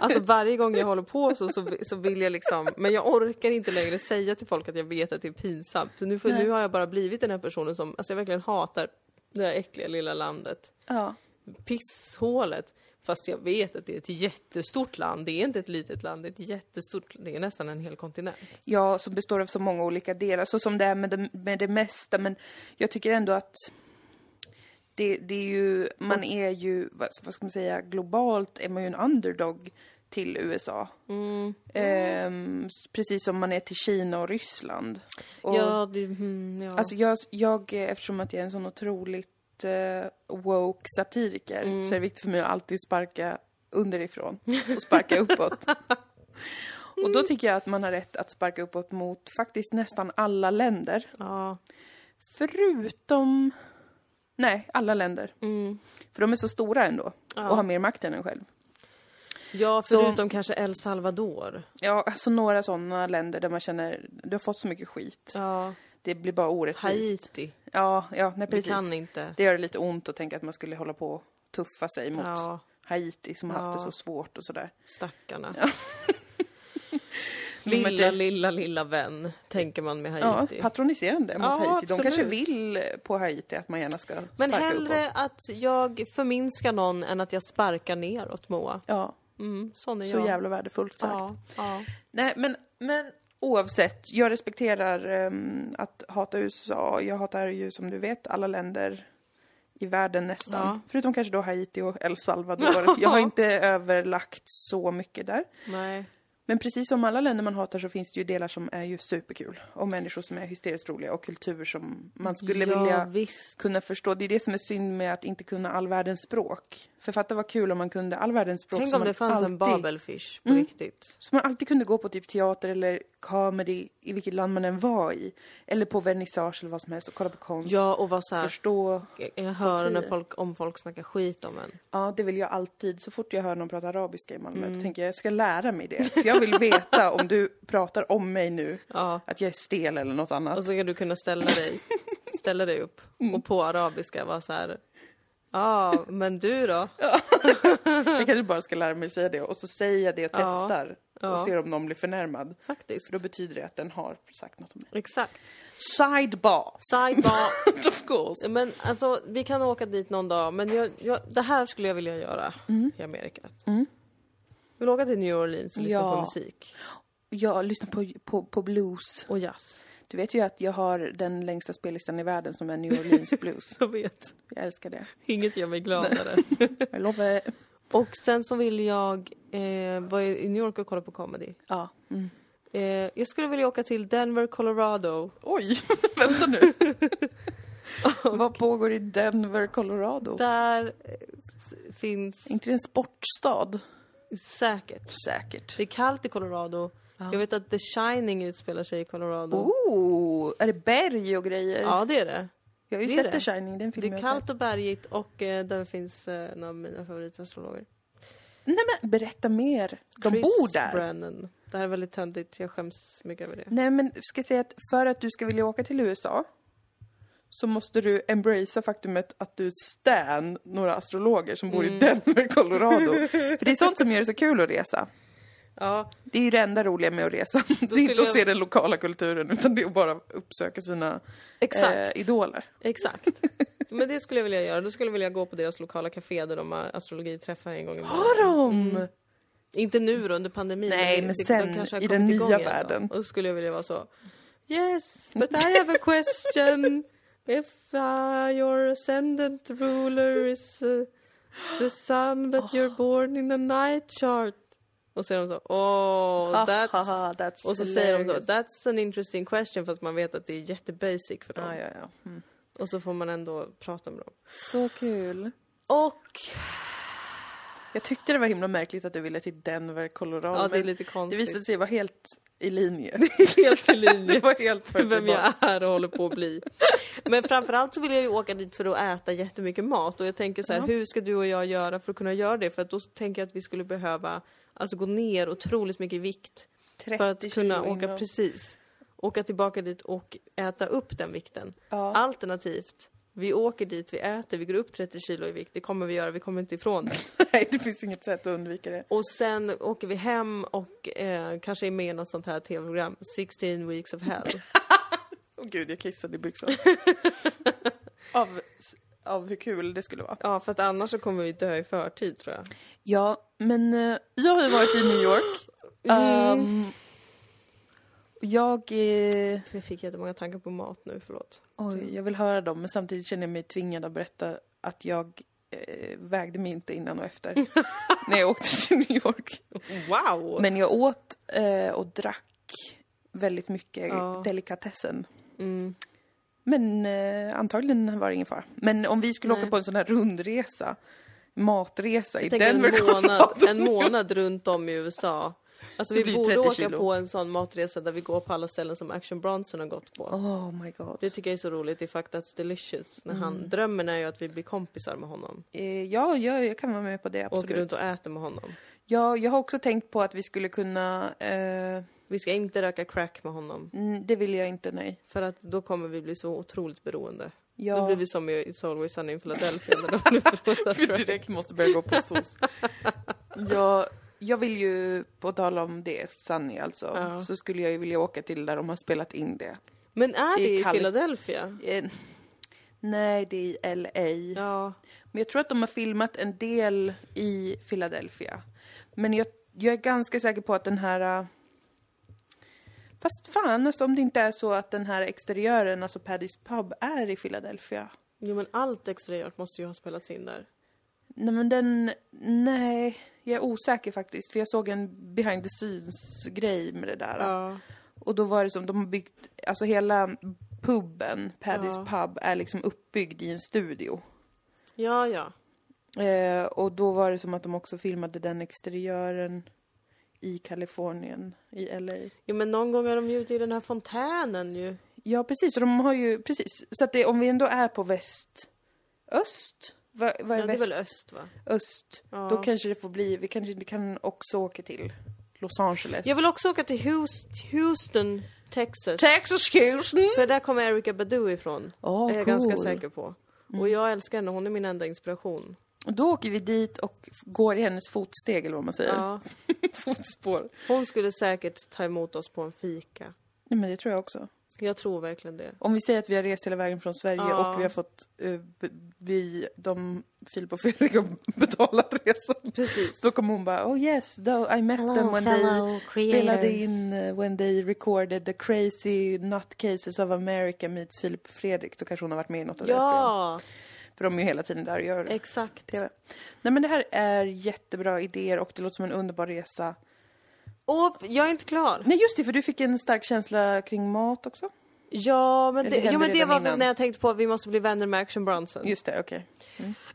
Speaker 1: Alltså varje gång jag håller på så, så, så vill jag liksom, men jag orkar inte längre säga till folk att jag vet att det är pinsamt. Så nu, får, nu har jag bara blivit den här personen som, alltså jag verkligen hatar det här äckliga lilla landet.
Speaker 2: Ja.
Speaker 1: Pisshålet. Fast jag vet att det är ett jättestort land. Det är inte ett litet land, det är ett jättestort, det är nästan en hel kontinent.
Speaker 2: ja, som består av så många olika delar, så som det är med det, med det mesta. Men jag tycker ändå att det, det är ju, man är ju, vad, vad ska man säga, globalt är man ju en underdog till USA. Ehm, s- precis som man är till Kina och Ryssland. Och,
Speaker 1: Ja, det, mm, ja.
Speaker 2: Alltså jag, jag, eh, eftersom att jag är en sån otroligt eh, woke satiriker
Speaker 1: Mm.
Speaker 2: så är det viktigt för mig att alltid sparka underifrån och sparka uppåt. Och
Speaker 1: Mm.
Speaker 2: då tycker jag att man har rätt att sparka uppåt mot faktiskt nästan alla länder.
Speaker 1: ja.
Speaker 2: Förutom... Nej, alla länder.
Speaker 1: Mm.
Speaker 2: För de är så stora ändå och har mer makt än en själv.
Speaker 1: ja förutom kanske El Salvador.
Speaker 2: Ja, alltså några sådana länder där man känner, du har fått så mycket skit.
Speaker 1: Ja.
Speaker 2: Det blir bara orättvist.
Speaker 1: Haiti.
Speaker 2: Ja, ja,
Speaker 1: Vi
Speaker 2: nej precis.
Speaker 1: kan inte.
Speaker 2: Det gör det lite ont att tänka att man skulle hålla på och tuffa sig mot
Speaker 1: Ja.
Speaker 2: Haiti som har haft det
Speaker 1: Ja.
Speaker 2: så svårt och sådär.
Speaker 1: Stackarna.
Speaker 2: Men
Speaker 1: lilla,
Speaker 2: det-
Speaker 1: lilla, lilla vän, tänker man med
Speaker 2: Ja,
Speaker 1: Haiti.
Speaker 2: patroniserande mot
Speaker 1: Ja,
Speaker 2: Haiti. De kanske
Speaker 1: absolut.
Speaker 2: vill på Haiti att man gärna ska
Speaker 1: Men
Speaker 2: sparka
Speaker 1: hellre
Speaker 2: uppåt.
Speaker 1: att jag förminskar någon än att jag sparkar neråt, Moa.
Speaker 2: Ja,
Speaker 1: Mm, sån är
Speaker 2: så
Speaker 1: jag.
Speaker 2: jävla värdefullt sagt.
Speaker 1: ja, ja.
Speaker 2: Nej, men, men oavsett. Jag respekterar ehm, att hata USA. Jag hatar ju som du vet alla länder i världen nästan. Förutom kanske då Haiti och El Salvador. Jag har inte överlagt så mycket där.
Speaker 1: Nej.
Speaker 2: Men precis som alla länder man hatar så finns det ju delar som är ju superkul. Och människor som är hysteriskt roliga och kulturer som man skulle
Speaker 1: ja,
Speaker 2: vilja
Speaker 1: visst.
Speaker 2: kunna förstå. Det är det som är synd med att inte kunna all världens språk. För fatta vad kul om man kunde all världens språk.
Speaker 1: Tänk
Speaker 2: som
Speaker 1: om det
Speaker 2: man
Speaker 1: fanns en
Speaker 2: alltid-
Speaker 1: babelfish på riktigt.
Speaker 2: Så man alltid kunde gå på typ teater eller comedy i vilket land man än var i. Eller på vernissage eller vad som helst och kolla på konst.
Speaker 1: Ja, och vara såhär,
Speaker 2: Förstå.
Speaker 1: jag hör när
Speaker 2: satir.
Speaker 1: folk, om folk snackar skit om en.
Speaker 2: Ja, det vill jag alltid. Så fort jag hör någon prata arabiska i Malmö
Speaker 1: Mm.
Speaker 2: då tänker jag, jag ska lära mig det. För jag vill veta om du pratar om mig nu,
Speaker 1: Ja.
Speaker 2: att jag är stel eller något annat.
Speaker 1: Och så ska du kunna ställa dig, ställa dig upp och på arabiska vara så här. Ja, men du då?
Speaker 2: Jag kanske bara ska lära mig säga det och så säger jag det
Speaker 1: Ja.
Speaker 2: och testar
Speaker 1: Ja.
Speaker 2: och ser om någon blir förnärmad.
Speaker 1: Faktiskt.
Speaker 2: För då betyder det att den har sagt något om mig.
Speaker 1: Exakt.
Speaker 2: Sidebar!
Speaker 1: Sidebar.
Speaker 2: of course!
Speaker 1: Men alltså, vi kan åka dit någon dag, men jag, jag, det här skulle jag vilja göra i Amerika. Mm. Vill åka till New Orleans och lyssna
Speaker 2: Ja.
Speaker 1: på musik.
Speaker 2: Jag lyssnar på, på, på blues.
Speaker 1: Och jazz.
Speaker 2: Du vet ju att jag har den längsta spellistan i världen som är New Orleans blues.
Speaker 1: Jag vet.
Speaker 2: Jag älskar det.
Speaker 1: Inget gör mig gladare.
Speaker 2: I love it.
Speaker 1: och sen så vill jag eh, vara i i New York och kolla på comedy.
Speaker 2: Ja.
Speaker 1: Eh, jag skulle vilja åka till Denver, Colorado.
Speaker 2: Oj, vänta nu. Vad pågår i Denver, Colorado?
Speaker 1: Där eh, s- finns
Speaker 2: Är inte det en sportstad?
Speaker 1: säkert.
Speaker 2: Säkert.
Speaker 1: Det är kallt i Colorado. Jag vet att The Shining utspelar sig i Colorado.
Speaker 2: Oh, är det berg och grejer?
Speaker 1: Ja, det är det.
Speaker 2: jag har ju
Speaker 1: det är
Speaker 2: sett
Speaker 1: det.
Speaker 2: The Shining, den
Speaker 1: Det
Speaker 2: filmen
Speaker 1: är
Speaker 2: jag har sett.
Speaker 1: kallt och bergigt och eh, där finns eh, några av mina favoritastrologer.
Speaker 2: Nej men berätta mer. De
Speaker 1: Chris
Speaker 2: bor där.
Speaker 1: Brennan. Det här är väldigt töntigt, jag skäms mycket över det.
Speaker 2: Nej men ska jag säga att för att du ska vilja åka till USA så måste du embracea faktumet att du stan några astrologer som bor
Speaker 1: Mm.
Speaker 2: i Denver, Colorado. för det är sånt som gör det så kul att resa.
Speaker 1: Ja,
Speaker 2: Det är ju det enda roliga med att resa. Det är inte
Speaker 1: skulle
Speaker 2: att se
Speaker 1: jag-
Speaker 2: den lokala kulturen utan det är att bara uppsöka sina eh,
Speaker 1: exakt.
Speaker 2: idoler.
Speaker 1: Exakt. Men det skulle jag vilja göra. Då skulle jag vilja gå på deras lokala café där de har astrologiträffar en gång i månaden.
Speaker 2: Har de?
Speaker 1: Mm. Inte nu då, under pandemin.
Speaker 2: Nej,
Speaker 1: det-
Speaker 2: men
Speaker 1: det-
Speaker 2: sen,
Speaker 1: har
Speaker 2: i den
Speaker 1: kommit igång
Speaker 2: nya
Speaker 1: igen då.
Speaker 2: världen.
Speaker 1: Och då skulle jag vilja vara så. Yes, but I have a question. If uh, your ascendant ruler is uh, the sun but you're born in the night chart. Och så är de så, oh, that's... Och så säger de så, that's an interesting question fast man vet att det är jättebasic för dem.
Speaker 2: Ja, ja, ja. Mm.
Speaker 1: Och så får man ändå prata med dem.
Speaker 2: Så kul.
Speaker 1: Och...
Speaker 2: Jag tyckte det var himla märkligt att du ville till Denver, Colorado.
Speaker 1: Ja, det är
Speaker 2: men
Speaker 1: lite
Speaker 2: det
Speaker 1: konstigt.
Speaker 2: visade sig vara helt i linje.
Speaker 1: helt i linje.
Speaker 2: Det var helt förutsägbart.
Speaker 1: vem jag är och håller på att bli. Men framförallt så vill jag ju åka dit för att äta jättemycket mat och jag tänker så här, hur ska du och jag göra för att kunna göra det? För att då tänker jag att vi skulle behöva alltså gå ner otroligt mycket i vikt för att
Speaker 2: 30
Speaker 1: kunna
Speaker 2: kilo
Speaker 1: åka
Speaker 2: innan.
Speaker 1: precis. Åka tillbaka dit och äta upp den vikten.
Speaker 2: Ja.
Speaker 1: Alternativt, vi åker dit, vi äter, vi går upp 30 kilo i vikt. Det kommer vi göra, vi kommer inte ifrån det.
Speaker 2: Nej, det finns inget sätt att undvika det.
Speaker 1: Och sen åker vi hem och eh, kanske är med i något sånt här tv-program, 16 weeks of hell.
Speaker 2: Åh gud, jag kissade i byxan. av, av hur kul det skulle vara.
Speaker 1: Ja, för att annars så kommer vi dö i förtid tror jag.
Speaker 2: Ja, men eh, jag har ju varit i New York. Ehm,
Speaker 1: Mm.
Speaker 2: och jag... eh,
Speaker 1: Jag fick jättemånga tankar på mat nu, förlåt.
Speaker 2: oj, jag vill höra dem, men samtidigt känner jag mig tvingad att berätta att jag eh, vägde mig inte innan och efter när jag åkte till New York.
Speaker 1: Wow!
Speaker 2: Men jag åt eh, och drack väldigt mycket
Speaker 1: Ja.
Speaker 2: delikatessen.
Speaker 1: Mm.
Speaker 2: Men eh, antagligen var det ingen fara. Men om vi skulle
Speaker 1: Nej.
Speaker 2: åka på en sån här rundresa, matresa i
Speaker 1: Tänk en
Speaker 2: Denver,
Speaker 1: månad,
Speaker 2: Colorado.
Speaker 1: en månad runt om i USA. Alltså
Speaker 2: Det
Speaker 1: vi
Speaker 2: blir
Speaker 1: borde
Speaker 2: 30
Speaker 1: åka
Speaker 2: kilo.
Speaker 1: på en sån matresa där vi går på alla ställen som Action Bronson har gått på.
Speaker 2: Oh my god.
Speaker 1: Det tycker jag är så roligt i Fact That's Delicious. När
Speaker 2: Mm.
Speaker 1: han, drömmen är ju att vi blir kompisar med honom.
Speaker 2: Eh, ja, ja, jag kan vara med på det
Speaker 1: Och åker
Speaker 2: absolut.
Speaker 1: runt och äter med honom.
Speaker 2: Ja, jag har också tänkt på att vi skulle kunna... Eh,
Speaker 1: Vi ska inte röka crack med honom.
Speaker 2: mm, det vill jag inte, nej.
Speaker 1: För att då kommer vi bli så otroligt beroende.
Speaker 2: Ja.
Speaker 1: Då blir vi som i It's Always Sunny in Philadelphia när de blir beroende av crack.
Speaker 2: måste börja gå på sås. jag, jag vill ju, på tal om det, Sunny alltså,
Speaker 1: Ja.
Speaker 2: så skulle jag ju vilja åka till där de har spelat in det.
Speaker 1: Men är
Speaker 2: I
Speaker 1: det i
Speaker 2: Kalif-
Speaker 1: Philadelphia?
Speaker 2: Eh, nej, det är i LA.
Speaker 1: Ja.
Speaker 2: Men jag tror att de har filmat en del i Philadelphia. Men jag, jag är ganska säker på att den här... äh, Fast fan, alltså, om det inte är så att den här exteriören, alltså Paddys pub, är i Philadelphia.
Speaker 1: Jo men allt extra gjort måste ju ha spelats in där.
Speaker 2: Nej men den, nej, jag är osäker faktiskt. För jag såg en behind the scenes-grej med det där.
Speaker 1: Ja.
Speaker 2: Och då var det som, de har byggt, alltså hela puben, Paddys pub, är liksom uppbyggd i en studio.
Speaker 1: Ja, ja.
Speaker 2: Eh, och då var det som att de också filmade den exteriören i Kalifornien, i LA.
Speaker 1: Jo men någon gång är de ju ute i den här fontänen ju.
Speaker 2: Ja precis, och de har ju, precis. Så att det, om vi ändå är på väst, öst? Vad vad är
Speaker 1: Ja, det är
Speaker 2: väst?
Speaker 1: väl öst va?
Speaker 2: öst.
Speaker 1: Ja.
Speaker 2: Då kanske det får bli, vi kanske inte kan också åka till Los Angeles.
Speaker 1: Jag vill också åka till Houst- Houston, Texas.
Speaker 2: Texas Houston!
Speaker 1: För där kommer Erika Badu ifrån.
Speaker 2: Åh,
Speaker 1: är jag
Speaker 2: cool. Mm.
Speaker 1: ganska säker på. Och jag älskar henne, hon är min enda inspiration.
Speaker 2: Och då åker vi dit och går i hennes fotsteg eller vad man säger.
Speaker 1: Ja.
Speaker 2: Fotspår.
Speaker 1: Hon skulle säkert ta emot oss på en fika.
Speaker 2: Nej men det tror jag också.
Speaker 1: Jag tror verkligen det.
Speaker 2: Om vi säger att vi har rest hela vägen från Sverige
Speaker 1: Ja.
Speaker 2: och vi har fått, eh, b- vi, de, Filip och Fredrik har betalat resan.
Speaker 1: Precis.
Speaker 2: Då kommer hon bara, oh yes, though I met
Speaker 1: Oh,
Speaker 3: Hello,
Speaker 2: them when
Speaker 3: fellow
Speaker 2: they spelade
Speaker 3: creators."
Speaker 2: in, eh, when they recorded the crazy nutcases of America meets Filip och Fredrik. Då kanske hon har varit med i något av deras program.
Speaker 1: Ja,
Speaker 2: För de är ju hela tiden där och gör
Speaker 1: exakt.
Speaker 2: TV. Nej men det här är jättebra idéer och det låter som en underbar resa.
Speaker 1: Och jag är inte klar.
Speaker 2: Nej just det, för du fick en stark känsla kring mat också.
Speaker 1: Ja, men
Speaker 2: Det
Speaker 1: det,
Speaker 2: hände
Speaker 1: jo, men det
Speaker 2: redan
Speaker 1: var
Speaker 2: innan.
Speaker 1: när jag tänkte på att vi måste bli vänner med Action Bronson.
Speaker 2: Just det, okej.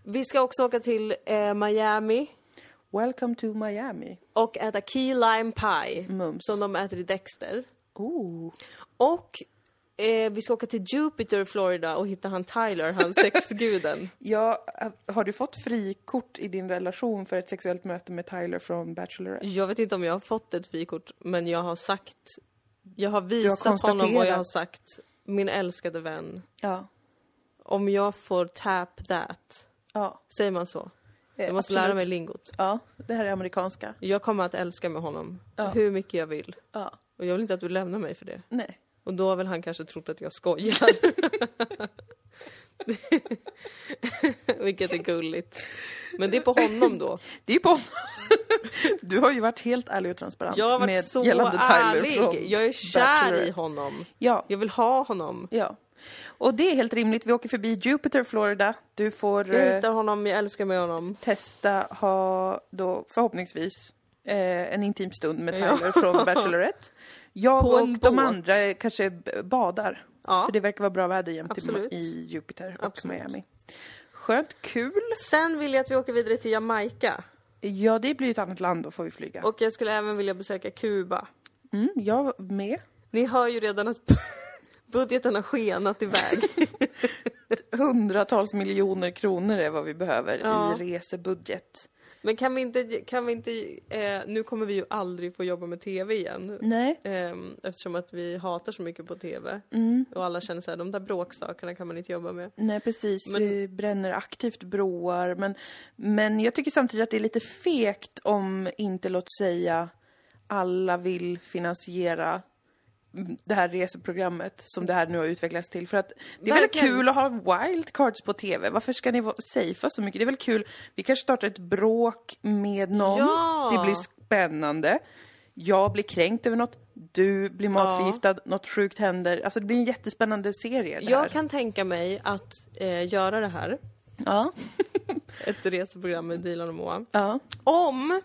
Speaker 1: Vi ska också åka till eh, Miami
Speaker 2: Welcome to Miami.
Speaker 1: och äta key lime pie.
Speaker 2: Mums.
Speaker 1: Som de äter i Dexter.
Speaker 2: Oh.
Speaker 1: Och eh, vi ska åka till Jupiter, Florida och hitta han Tyler, han sexguden.
Speaker 2: Ja, äh, har du fått frikort i din relation för ett sexuellt möte med Tyler från Bachelorette?
Speaker 1: Jag vet inte om jag har fått ett frikort, men jag har sagt... Jag har visat
Speaker 2: konstaterat.
Speaker 1: honom och jag har sagt min älskade vän,
Speaker 2: Ja.
Speaker 1: om jag får tap that,
Speaker 2: Ja.
Speaker 1: säger man så?
Speaker 2: eh,
Speaker 1: Jag måste
Speaker 2: absolut.
Speaker 1: lära mig lingot.
Speaker 2: Ja, det här är amerikanska.
Speaker 1: Jag kommer att älska med honom
Speaker 2: Ja.
Speaker 1: hur mycket jag vill.
Speaker 2: Ja.
Speaker 1: Och jag vill inte att du lämnar mig för det.
Speaker 2: Nej.
Speaker 1: Och då har väl han kanske trott att jag skojar. Vilket är gulligt. Men det är på honom då.
Speaker 2: Det är ju på Du har ju varit helt ärlig och transparent
Speaker 1: Jag har varit
Speaker 2: med
Speaker 1: så
Speaker 2: gällande Tyler från
Speaker 1: ärlig. Jag är kär i
Speaker 2: Bachelorette.
Speaker 1: honom.
Speaker 2: Ja,
Speaker 1: Jag vill ha honom.
Speaker 2: ja. Och det är helt rimligt. Vi åker förbi Jupiter, Florida. Du får
Speaker 1: Jag
Speaker 2: eh,
Speaker 1: hittar honom, jag älskar med honom.
Speaker 2: testa ha då förhoppningsvis eh, en intim stund med Tyler från Bachelorette. Jag
Speaker 1: På
Speaker 2: och
Speaker 1: en
Speaker 2: de
Speaker 1: båt.
Speaker 2: andra kanske b- badar.
Speaker 1: Ja.
Speaker 2: För det verkar vara bra väder jämt i,
Speaker 1: Absolut.
Speaker 2: i Jupiter och
Speaker 1: Absolut.
Speaker 2: Miami. Skönt, kul.
Speaker 1: Sen vill jag att vi åker vidare till Jamaica.
Speaker 2: Ja, det blir ett annat land, då får vi flyga.
Speaker 1: Och jag skulle även vilja besöka Kuba.
Speaker 2: Mm, jag med.
Speaker 1: Ni hör ju redan att budgeten har skenat iväg.
Speaker 2: Hundratals miljoner kronor är vad vi behöver
Speaker 1: Ja.
Speaker 2: i resebudget.
Speaker 1: Men kan vi inte, kan vi inte eh, nu kommer vi ju aldrig få jobba med TV igen.
Speaker 2: Nej.
Speaker 1: Ehm, eftersom att vi hatar så mycket på TV.
Speaker 2: Mm.
Speaker 1: Och alla känner såhär, de där bråksakerna kan man inte jobba med.
Speaker 2: Nej precis, vi bränner aktivt broar men, men jag tycker samtidigt att det är lite fegt om inte låt säga alla vill finansiera mm, det här reseprogrammet som det här nu har utvecklats till. För att det är väl
Speaker 1: Verkligen.
Speaker 2: kul att ha wildcards på TV? Varför ska ni vara- safea så mycket? Det är väl kul, vi kanske startar ett bråk med någon,
Speaker 1: Ja.
Speaker 2: det blir spännande. Jag blir kränkt över något, du blir matförgiftad, något sjukt händer. Alltså det blir en jättespännande serie det här.
Speaker 1: Jag kan tänka mig att eh, göra det här,
Speaker 2: Ja.
Speaker 1: ett reseprogram med Dilan och Moa.
Speaker 2: ja.
Speaker 1: Om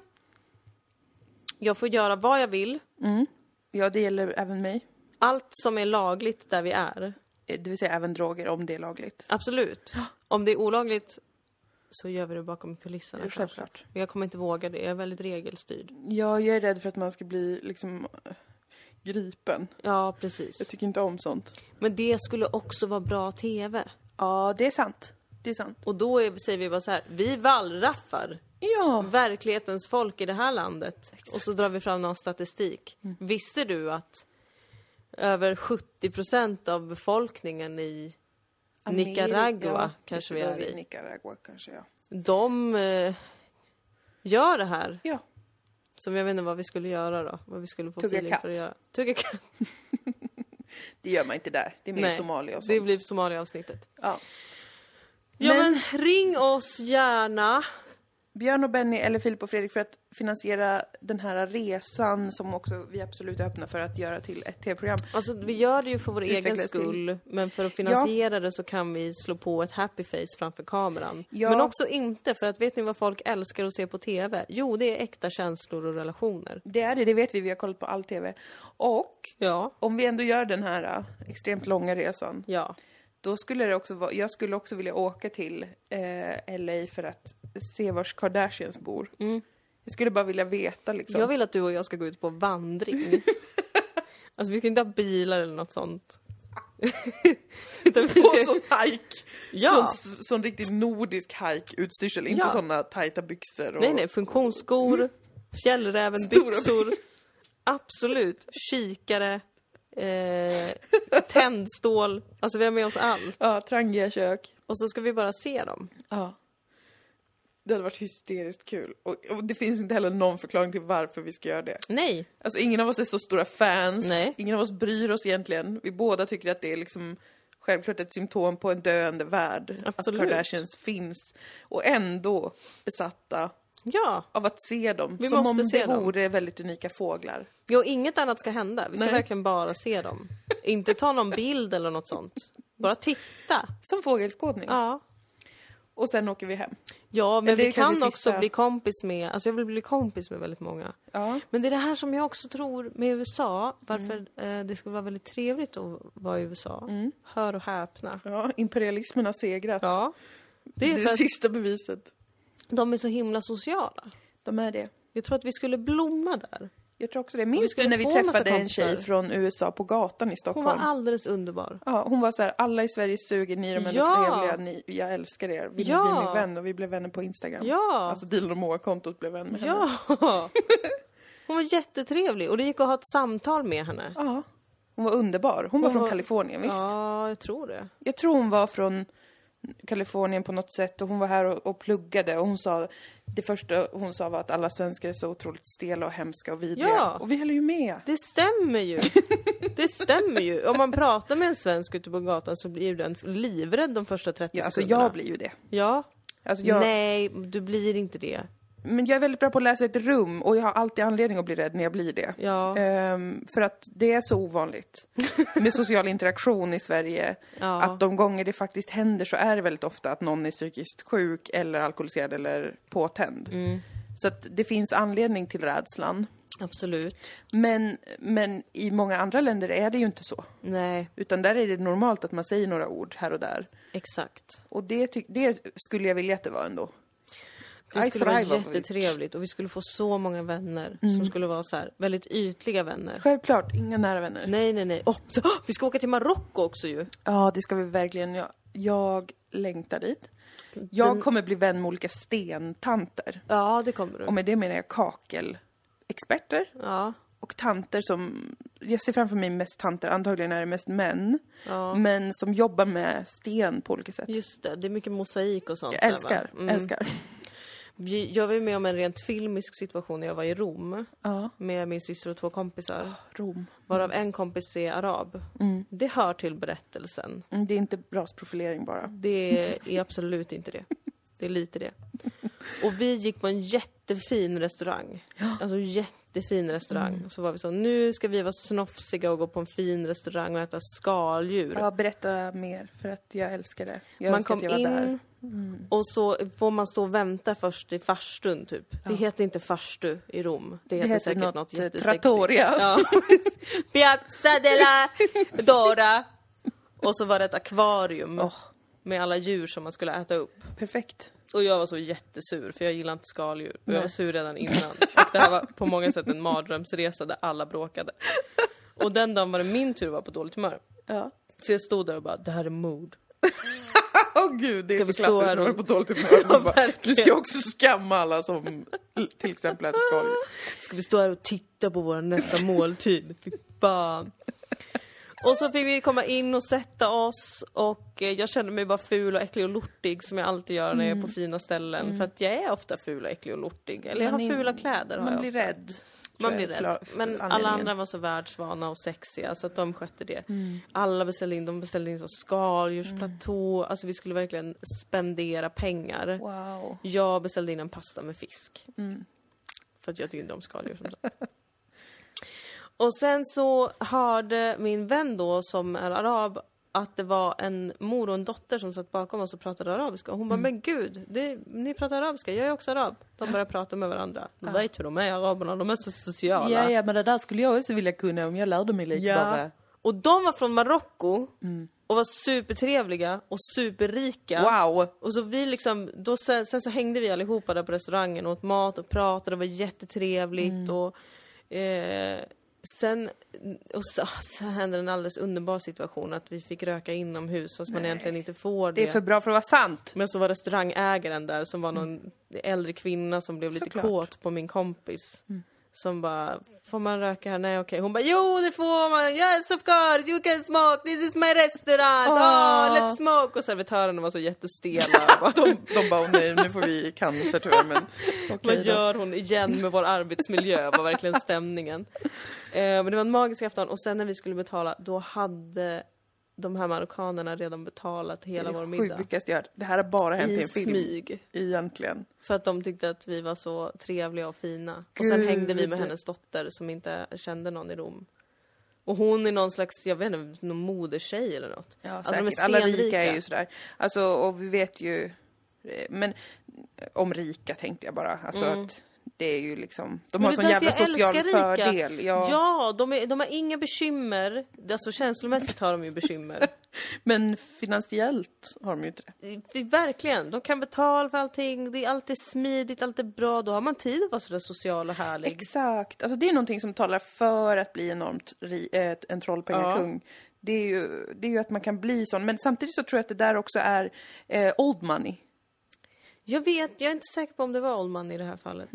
Speaker 1: jag får göra vad jag vill,
Speaker 2: Ja, det gäller även mig.
Speaker 1: allt som är lagligt där vi är.
Speaker 2: Eh, Det vill säga även droger om det är lagligt.
Speaker 1: Absolut. Om det är olagligt så gör vi det bakom kulisserna. kanske.
Speaker 2: Självklart.
Speaker 1: Men jag kommer inte våga det, jag är väldigt regelstyrd.
Speaker 2: Ja, jag är rädd för att man ska bli liksom eh, gripen.
Speaker 1: Ja, precis.
Speaker 2: Jag tycker inte om sånt.
Speaker 1: Men det skulle också vara bra TV.
Speaker 2: Ja, det är sant. Det är sant.
Speaker 1: Och då är, säger vi bara så här, vi wallraffar
Speaker 2: Ja.
Speaker 1: verklighetens folk i det här landet. Och så drar vi fram någon statistik.
Speaker 2: Mm.
Speaker 1: Visste du att över 70% av befolkningen i Nicaragua
Speaker 2: Ja,
Speaker 1: kanske vi
Speaker 2: det
Speaker 1: är
Speaker 2: var
Speaker 1: i,
Speaker 2: Nicaragua kanske, ja.
Speaker 1: de eh, gör det här.
Speaker 2: Ja.
Speaker 1: Som jag vet inte vad vi skulle göra då. Vad vi skulle få
Speaker 2: Tugga
Speaker 1: feeling
Speaker 2: katt.
Speaker 1: för att göra. Tugga katt.
Speaker 2: Det gör man inte där. Det är mer
Speaker 1: Nej,
Speaker 2: Somalia och sånt.
Speaker 1: Det blir Somalia-avsnittet.
Speaker 2: Ja.
Speaker 1: Ja
Speaker 2: Men-
Speaker 1: men ring oss gärna.
Speaker 2: Björn och Benny eller Filip och Fredrik för att finansiera den här resan som också vi absolut är öppna för att göra till ett tv-program.
Speaker 1: Alltså vi gör det ju för vår egen
Speaker 2: Utvecklas till-
Speaker 1: skull, men för att finansiera det så kan vi slå på ett happy face framför kameran.
Speaker 2: Ja.
Speaker 1: Men också inte, för att vet ni vad folk älskar att se på TV? Jo, det är äkta känslor och relationer.
Speaker 2: Det är det, det vet vi. Vi har kollat på all tv. Och
Speaker 1: Ja.
Speaker 2: om vi ändå gör den här eh, extremt långa resan,
Speaker 1: Ja.
Speaker 2: då skulle det också vara, jag skulle också vilja åka till eh, LA för att se var Kardashians bor. Jag skulle bara vilja veta liksom.
Speaker 1: Mm. Jag vill att du och jag ska gå ut på vandring. alltså vi ska inte ha bilar eller något sånt. Utan vi
Speaker 2: På
Speaker 1: ska...
Speaker 2: sån hike!
Speaker 1: Ja!
Speaker 2: Sån, sån riktigt nordisk hike utstyrsel, inte
Speaker 1: Ja.
Speaker 2: såna tajta byxor och...
Speaker 1: Nej, nej, funktionsskor, fjällräven,
Speaker 2: Stora
Speaker 1: byxor. Absolut. Kikare, eh, tändstål. Alltså vi har med oss allt.
Speaker 2: Ja, trangiga kök.
Speaker 1: Och så ska vi bara se dem.
Speaker 2: Ja. Det hade varit hysteriskt kul. Och, och det finns inte heller någon förklaring till varför vi ska göra det.
Speaker 1: Nej,
Speaker 2: Alltså ingen av oss är så stora fans,
Speaker 1: Nej.
Speaker 2: ingen av oss bryr oss egentligen. Vi båda tycker att det är liksom självklart ett symptom på en döende värld.
Speaker 1: Absolut.
Speaker 2: Att Kardashians finns. Och ändå besatta
Speaker 1: ja.
Speaker 2: av att se dem.
Speaker 1: Vi
Speaker 2: Som
Speaker 1: måste
Speaker 2: om
Speaker 1: se
Speaker 2: det
Speaker 1: dem.
Speaker 2: vore väldigt unika fåglar.
Speaker 1: Jo, inget annat ska hända. Vi ska
Speaker 2: Nej.
Speaker 1: verkligen bara se dem. Inte ta någon bild eller något sånt. Bara titta.
Speaker 2: Som fågelskådning.
Speaker 1: Ja.
Speaker 2: Och sen åker vi hem.
Speaker 1: Ja, men
Speaker 2: Eller det
Speaker 1: vi kan
Speaker 2: kanske
Speaker 1: också
Speaker 2: sista-
Speaker 1: bli kompis med, alltså jag vill bli kompis med väldigt många.
Speaker 2: Ja.
Speaker 1: Men det är det här som jag också tror med USA, varför
Speaker 2: Mm.
Speaker 1: eh, det skulle vara väldigt trevligt att vara i USA. Hör och häpna.
Speaker 2: ja imperialismen har segrat.
Speaker 1: Ja. Det
Speaker 2: Det
Speaker 1: är
Speaker 2: är
Speaker 1: för
Speaker 2: det
Speaker 1: att
Speaker 2: sista beviset.
Speaker 1: de är så himla sociala.
Speaker 2: De är det.
Speaker 1: Jag tror att vi skulle blomma där.
Speaker 2: Jag tror också det. Minns
Speaker 1: skulle
Speaker 2: du när vi
Speaker 1: få massa
Speaker 2: träffade en
Speaker 1: kompisar.
Speaker 2: tjej från USA på gatan i
Speaker 1: Hon
Speaker 2: Stockholm?
Speaker 1: var alldeles underbar.
Speaker 2: Ja, hon var så här, alla i Sverige suger, ni är de enda
Speaker 1: Ja.
Speaker 2: trevliga, ni, jag älskar er, vill ni
Speaker 1: Ja.
Speaker 2: bli min vän? Och vi blev vänner på Instagram.
Speaker 1: Ja!
Speaker 2: Alltså Dilan och Moa-kontot blev vän med henne.
Speaker 1: ja! Hon var jättetrevlig och det gick att ha ett samtal med henne.
Speaker 2: ja! Hon var underbar. Hon var
Speaker 1: Hon
Speaker 2: från
Speaker 1: var-
Speaker 2: Kalifornien, visst?
Speaker 1: Ja, jag tror det.
Speaker 2: Jag tror hon var från Kalifornien på något sätt och hon var här och, och pluggade och hon sa, det första hon sa var att alla svenskar är så otroligt stela och hemska och vidriga.
Speaker 1: Ja.
Speaker 2: Och vi höll ju med!
Speaker 1: Det stämmer ju. Det stämmer ju. Om man pratar med en svensk ute på gatan så blir ju den livrädd de första 30
Speaker 2: Ja, alltså
Speaker 1: sekunderna.
Speaker 2: jag blir ju det.
Speaker 1: Ja.
Speaker 2: Alltså, jag,
Speaker 1: Nej, du blir inte det.
Speaker 2: Men jag är väldigt bra på att läsa ett rum och jag har alltid anledning att bli rädd när jag blir det.
Speaker 1: Ja.
Speaker 2: Ehm, för att det är så ovanligt med social interaktion i Sverige.
Speaker 1: Ja.
Speaker 2: Att de gånger det faktiskt händer så är det väldigt ofta att någon är psykiskt sjuk eller alkoholiserad eller påtänd.
Speaker 1: Mm.
Speaker 2: Så att det finns anledning till rädslan.
Speaker 1: Absolut.
Speaker 2: Men, men i många andra länder är det ju inte så.
Speaker 1: Nej,
Speaker 2: Utan där är det normalt att man säger några ord här och där.
Speaker 1: exakt.
Speaker 2: Och det, ty- det skulle jag vilja att det var ändå.
Speaker 1: Det
Speaker 2: I
Speaker 1: skulle vara
Speaker 2: thrive of it.
Speaker 1: jättetrevligt och vi skulle få så många vänner som skulle vara så här väldigt ytliga vänner.
Speaker 2: Självklart, inga nära vänner.
Speaker 1: Nej, nej, nej. Åh, vi ska åka till Marocko också ju.
Speaker 2: Ja, det ska vi verkligen. Jag, jag längtar dit.
Speaker 1: Mm.
Speaker 2: Jag kommer bli vän med olika stentanter.
Speaker 1: Ja, det kommer
Speaker 2: Och
Speaker 1: du.
Speaker 2: med det menar jag kakelexperter
Speaker 1: Ja,
Speaker 2: och tanter som... Jag ser framför mig mest tanter, antagligen är det mest män. Men som jobbar med sten på olika sätt.
Speaker 1: just det. Det är mycket mosaik och sånt.
Speaker 2: Jag
Speaker 1: där, va?
Speaker 2: älskar,
Speaker 1: Mm.
Speaker 2: älskar.
Speaker 1: Vi- Jag var ju med om en rent filmisk situation när jag var i Rom
Speaker 2: Ja,
Speaker 1: med min syster och två kompisar.
Speaker 2: Rom.
Speaker 1: Varav en kompis är arab. Det hör till berättelsen.
Speaker 2: Mm, Det är inte rasprofilering bara.
Speaker 1: Det är absolut inte det. Det är lite det. Och vi gick på en jättefin restaurang. Alltså jättefin restaurang.
Speaker 2: Mm.
Speaker 1: Så var vi så, nu ska vi vara snofsiga och gå på en fin restaurang och äta skaldjur.
Speaker 2: Ja, berätta mer för att jag älskar det. Jag
Speaker 1: Man
Speaker 2: önskar
Speaker 1: kom
Speaker 2: att jag var
Speaker 1: in
Speaker 2: där.
Speaker 1: och så får man stå och vänta först i farstun typ. Det heter inte farstu i Rom. Det
Speaker 2: Det
Speaker 1: heter,
Speaker 2: heter
Speaker 1: säkert
Speaker 2: något,
Speaker 1: något,
Speaker 2: eh,
Speaker 1: jättesexigt.
Speaker 2: trattoria.
Speaker 1: Ja. Piazza della Dora. Och så var det ett akvarium med alla djur som man skulle äta upp.
Speaker 2: Perfekt.
Speaker 1: Och jag var så jättesur för jag gillar inte skaldjur. Och jag var
Speaker 2: Nej.
Speaker 1: sur redan innan. Och det här var på många sätt en mardrömsresa där alla bråkade. Och den dagen var det min tur att vara på dåligt humör.
Speaker 2: Ja.
Speaker 1: Så jag stod där och bara, det här är mord.
Speaker 2: Åh gud, det är
Speaker 1: Ska vi
Speaker 2: så
Speaker 1: stå
Speaker 2: klassiskt
Speaker 1: här
Speaker 2: när man är
Speaker 1: och-
Speaker 2: på dåligt humör. Man bara, Du
Speaker 1: verkligen.
Speaker 2: ska också skamma alla som till exempel äter skaldjur.
Speaker 1: Ska vi stå här och titta på vår nästa måltid? Fy fan. Och så fick vi komma in och sätta oss och eh, jag kände mig bara ful och äcklig och lortig som jag alltid gör när jag är på fina ställen. För att jag är ofta ful och äcklig och lortig. Eller jag
Speaker 2: Man
Speaker 1: har
Speaker 2: är-
Speaker 1: fula kläder har
Speaker 2: Man
Speaker 1: jag.
Speaker 2: blir rädd.
Speaker 1: Man
Speaker 2: tror
Speaker 1: blir
Speaker 2: jag,
Speaker 1: rädd.
Speaker 2: förla-
Speaker 1: Men alla
Speaker 2: anledningen. Mm.
Speaker 1: andra var så världsvana och sexiga så att de skötte det. Alla beställde in, de beställde in så skaldjursplatå, alltså vi skulle verkligen spendera pengar.
Speaker 2: Wow. Mm.
Speaker 1: Jag beställde in en pasta med fisk. För att jag tycker inte om skaldjur som sagt. Och sen så hörde min vän då som är arab att det var en mor och en dotter som satt bakom oss och pratade arabiska. Och hon bara,
Speaker 2: Mm.
Speaker 1: men gud, det, ni pratar arabiska, jag är också arab. De började prata med varandra. Du vet hur de är araberna, de är så sociala.
Speaker 3: Ja, ja, men det där skulle jag också vilja kunna om jag lärde mig lite bara.
Speaker 1: Och de var från Marocko och var supertrevliga och superrika.
Speaker 2: Mm. Wow!
Speaker 1: Och så vi liksom, då sen, sen så hängde vi allihopa där på restaurangen och åt mat och pratade, det var
Speaker 2: Mm.
Speaker 1: jättetrevligt och eh, sen, och så, så hände en alldeles underbar situation att vi fick röka inomhus fast man egentligen inte får det.
Speaker 2: Det är för bra för att vara sant.
Speaker 1: Men så var restaurangägaren där som var någon äldre kvinna som blev lite
Speaker 2: Såklart. Mm.
Speaker 1: kåt på min kompis. Som bara, får man röka här? Nej okej. Hon bara, jo det får man! Yes of course you can smoke! This is my restaurant! Oh,
Speaker 2: Ah.
Speaker 1: let's smoke! Och servitörerna var så jättestela. Bara,
Speaker 2: De bara, "Åh, nej, nu får vi cancer tror jag, men okej
Speaker 1: Vad
Speaker 2: då.
Speaker 1: gör hon igen med vår arbetsmiljö? var verkligen stämningen. Eh, men det var en magisk afton och sen när vi skulle betala då hade de här marockanerna redan betalat hela vår
Speaker 2: Det
Speaker 1: middag.
Speaker 2: sjukaste jag hört. Det här har bara hänt i
Speaker 1: I
Speaker 2: en film.
Speaker 1: smyg.
Speaker 2: Egentligen.
Speaker 1: För att de tyckte att vi var så trevliga och fina. Och sen
Speaker 2: Gud.
Speaker 1: hängde vi med hennes dotter som inte kände någon i Rom. Och hon är någon slags, jag vet inte, någon modertjej eller något.
Speaker 2: Ja,
Speaker 1: Alltså, de är
Speaker 2: säkert. Alla rika
Speaker 1: stenrika.
Speaker 2: är ju sådär. Alltså, och vi vet ju... eh, Men eh, om rika tänkte jag bara. Alltså att det är ju liksom... De har
Speaker 1: Mm. det är därför
Speaker 2: sån jävla
Speaker 1: jag
Speaker 2: social
Speaker 1: älskar rika.
Speaker 2: fördel. Ja.
Speaker 1: Ja, de, är, de har inga bekymmer. Alltså känslomässigt har de ju bekymmer.
Speaker 2: Men finansiellt har de ju inte det.
Speaker 1: Vi- Verkligen, de kan betala för allting, det är alltid smidigt, allt är bra. Då har man tid att vara sådär social och härlig.
Speaker 2: Exakt. Alltså det är någonting som talar för att bli enormt ri, eh, en trollpengakung. Det, är ju, det är ju att man kan bli sån. Men samtidigt så tror jag att det där också är eh, old money.
Speaker 1: Jag vet, jag är inte säker på om det var Oldman i det här fallet.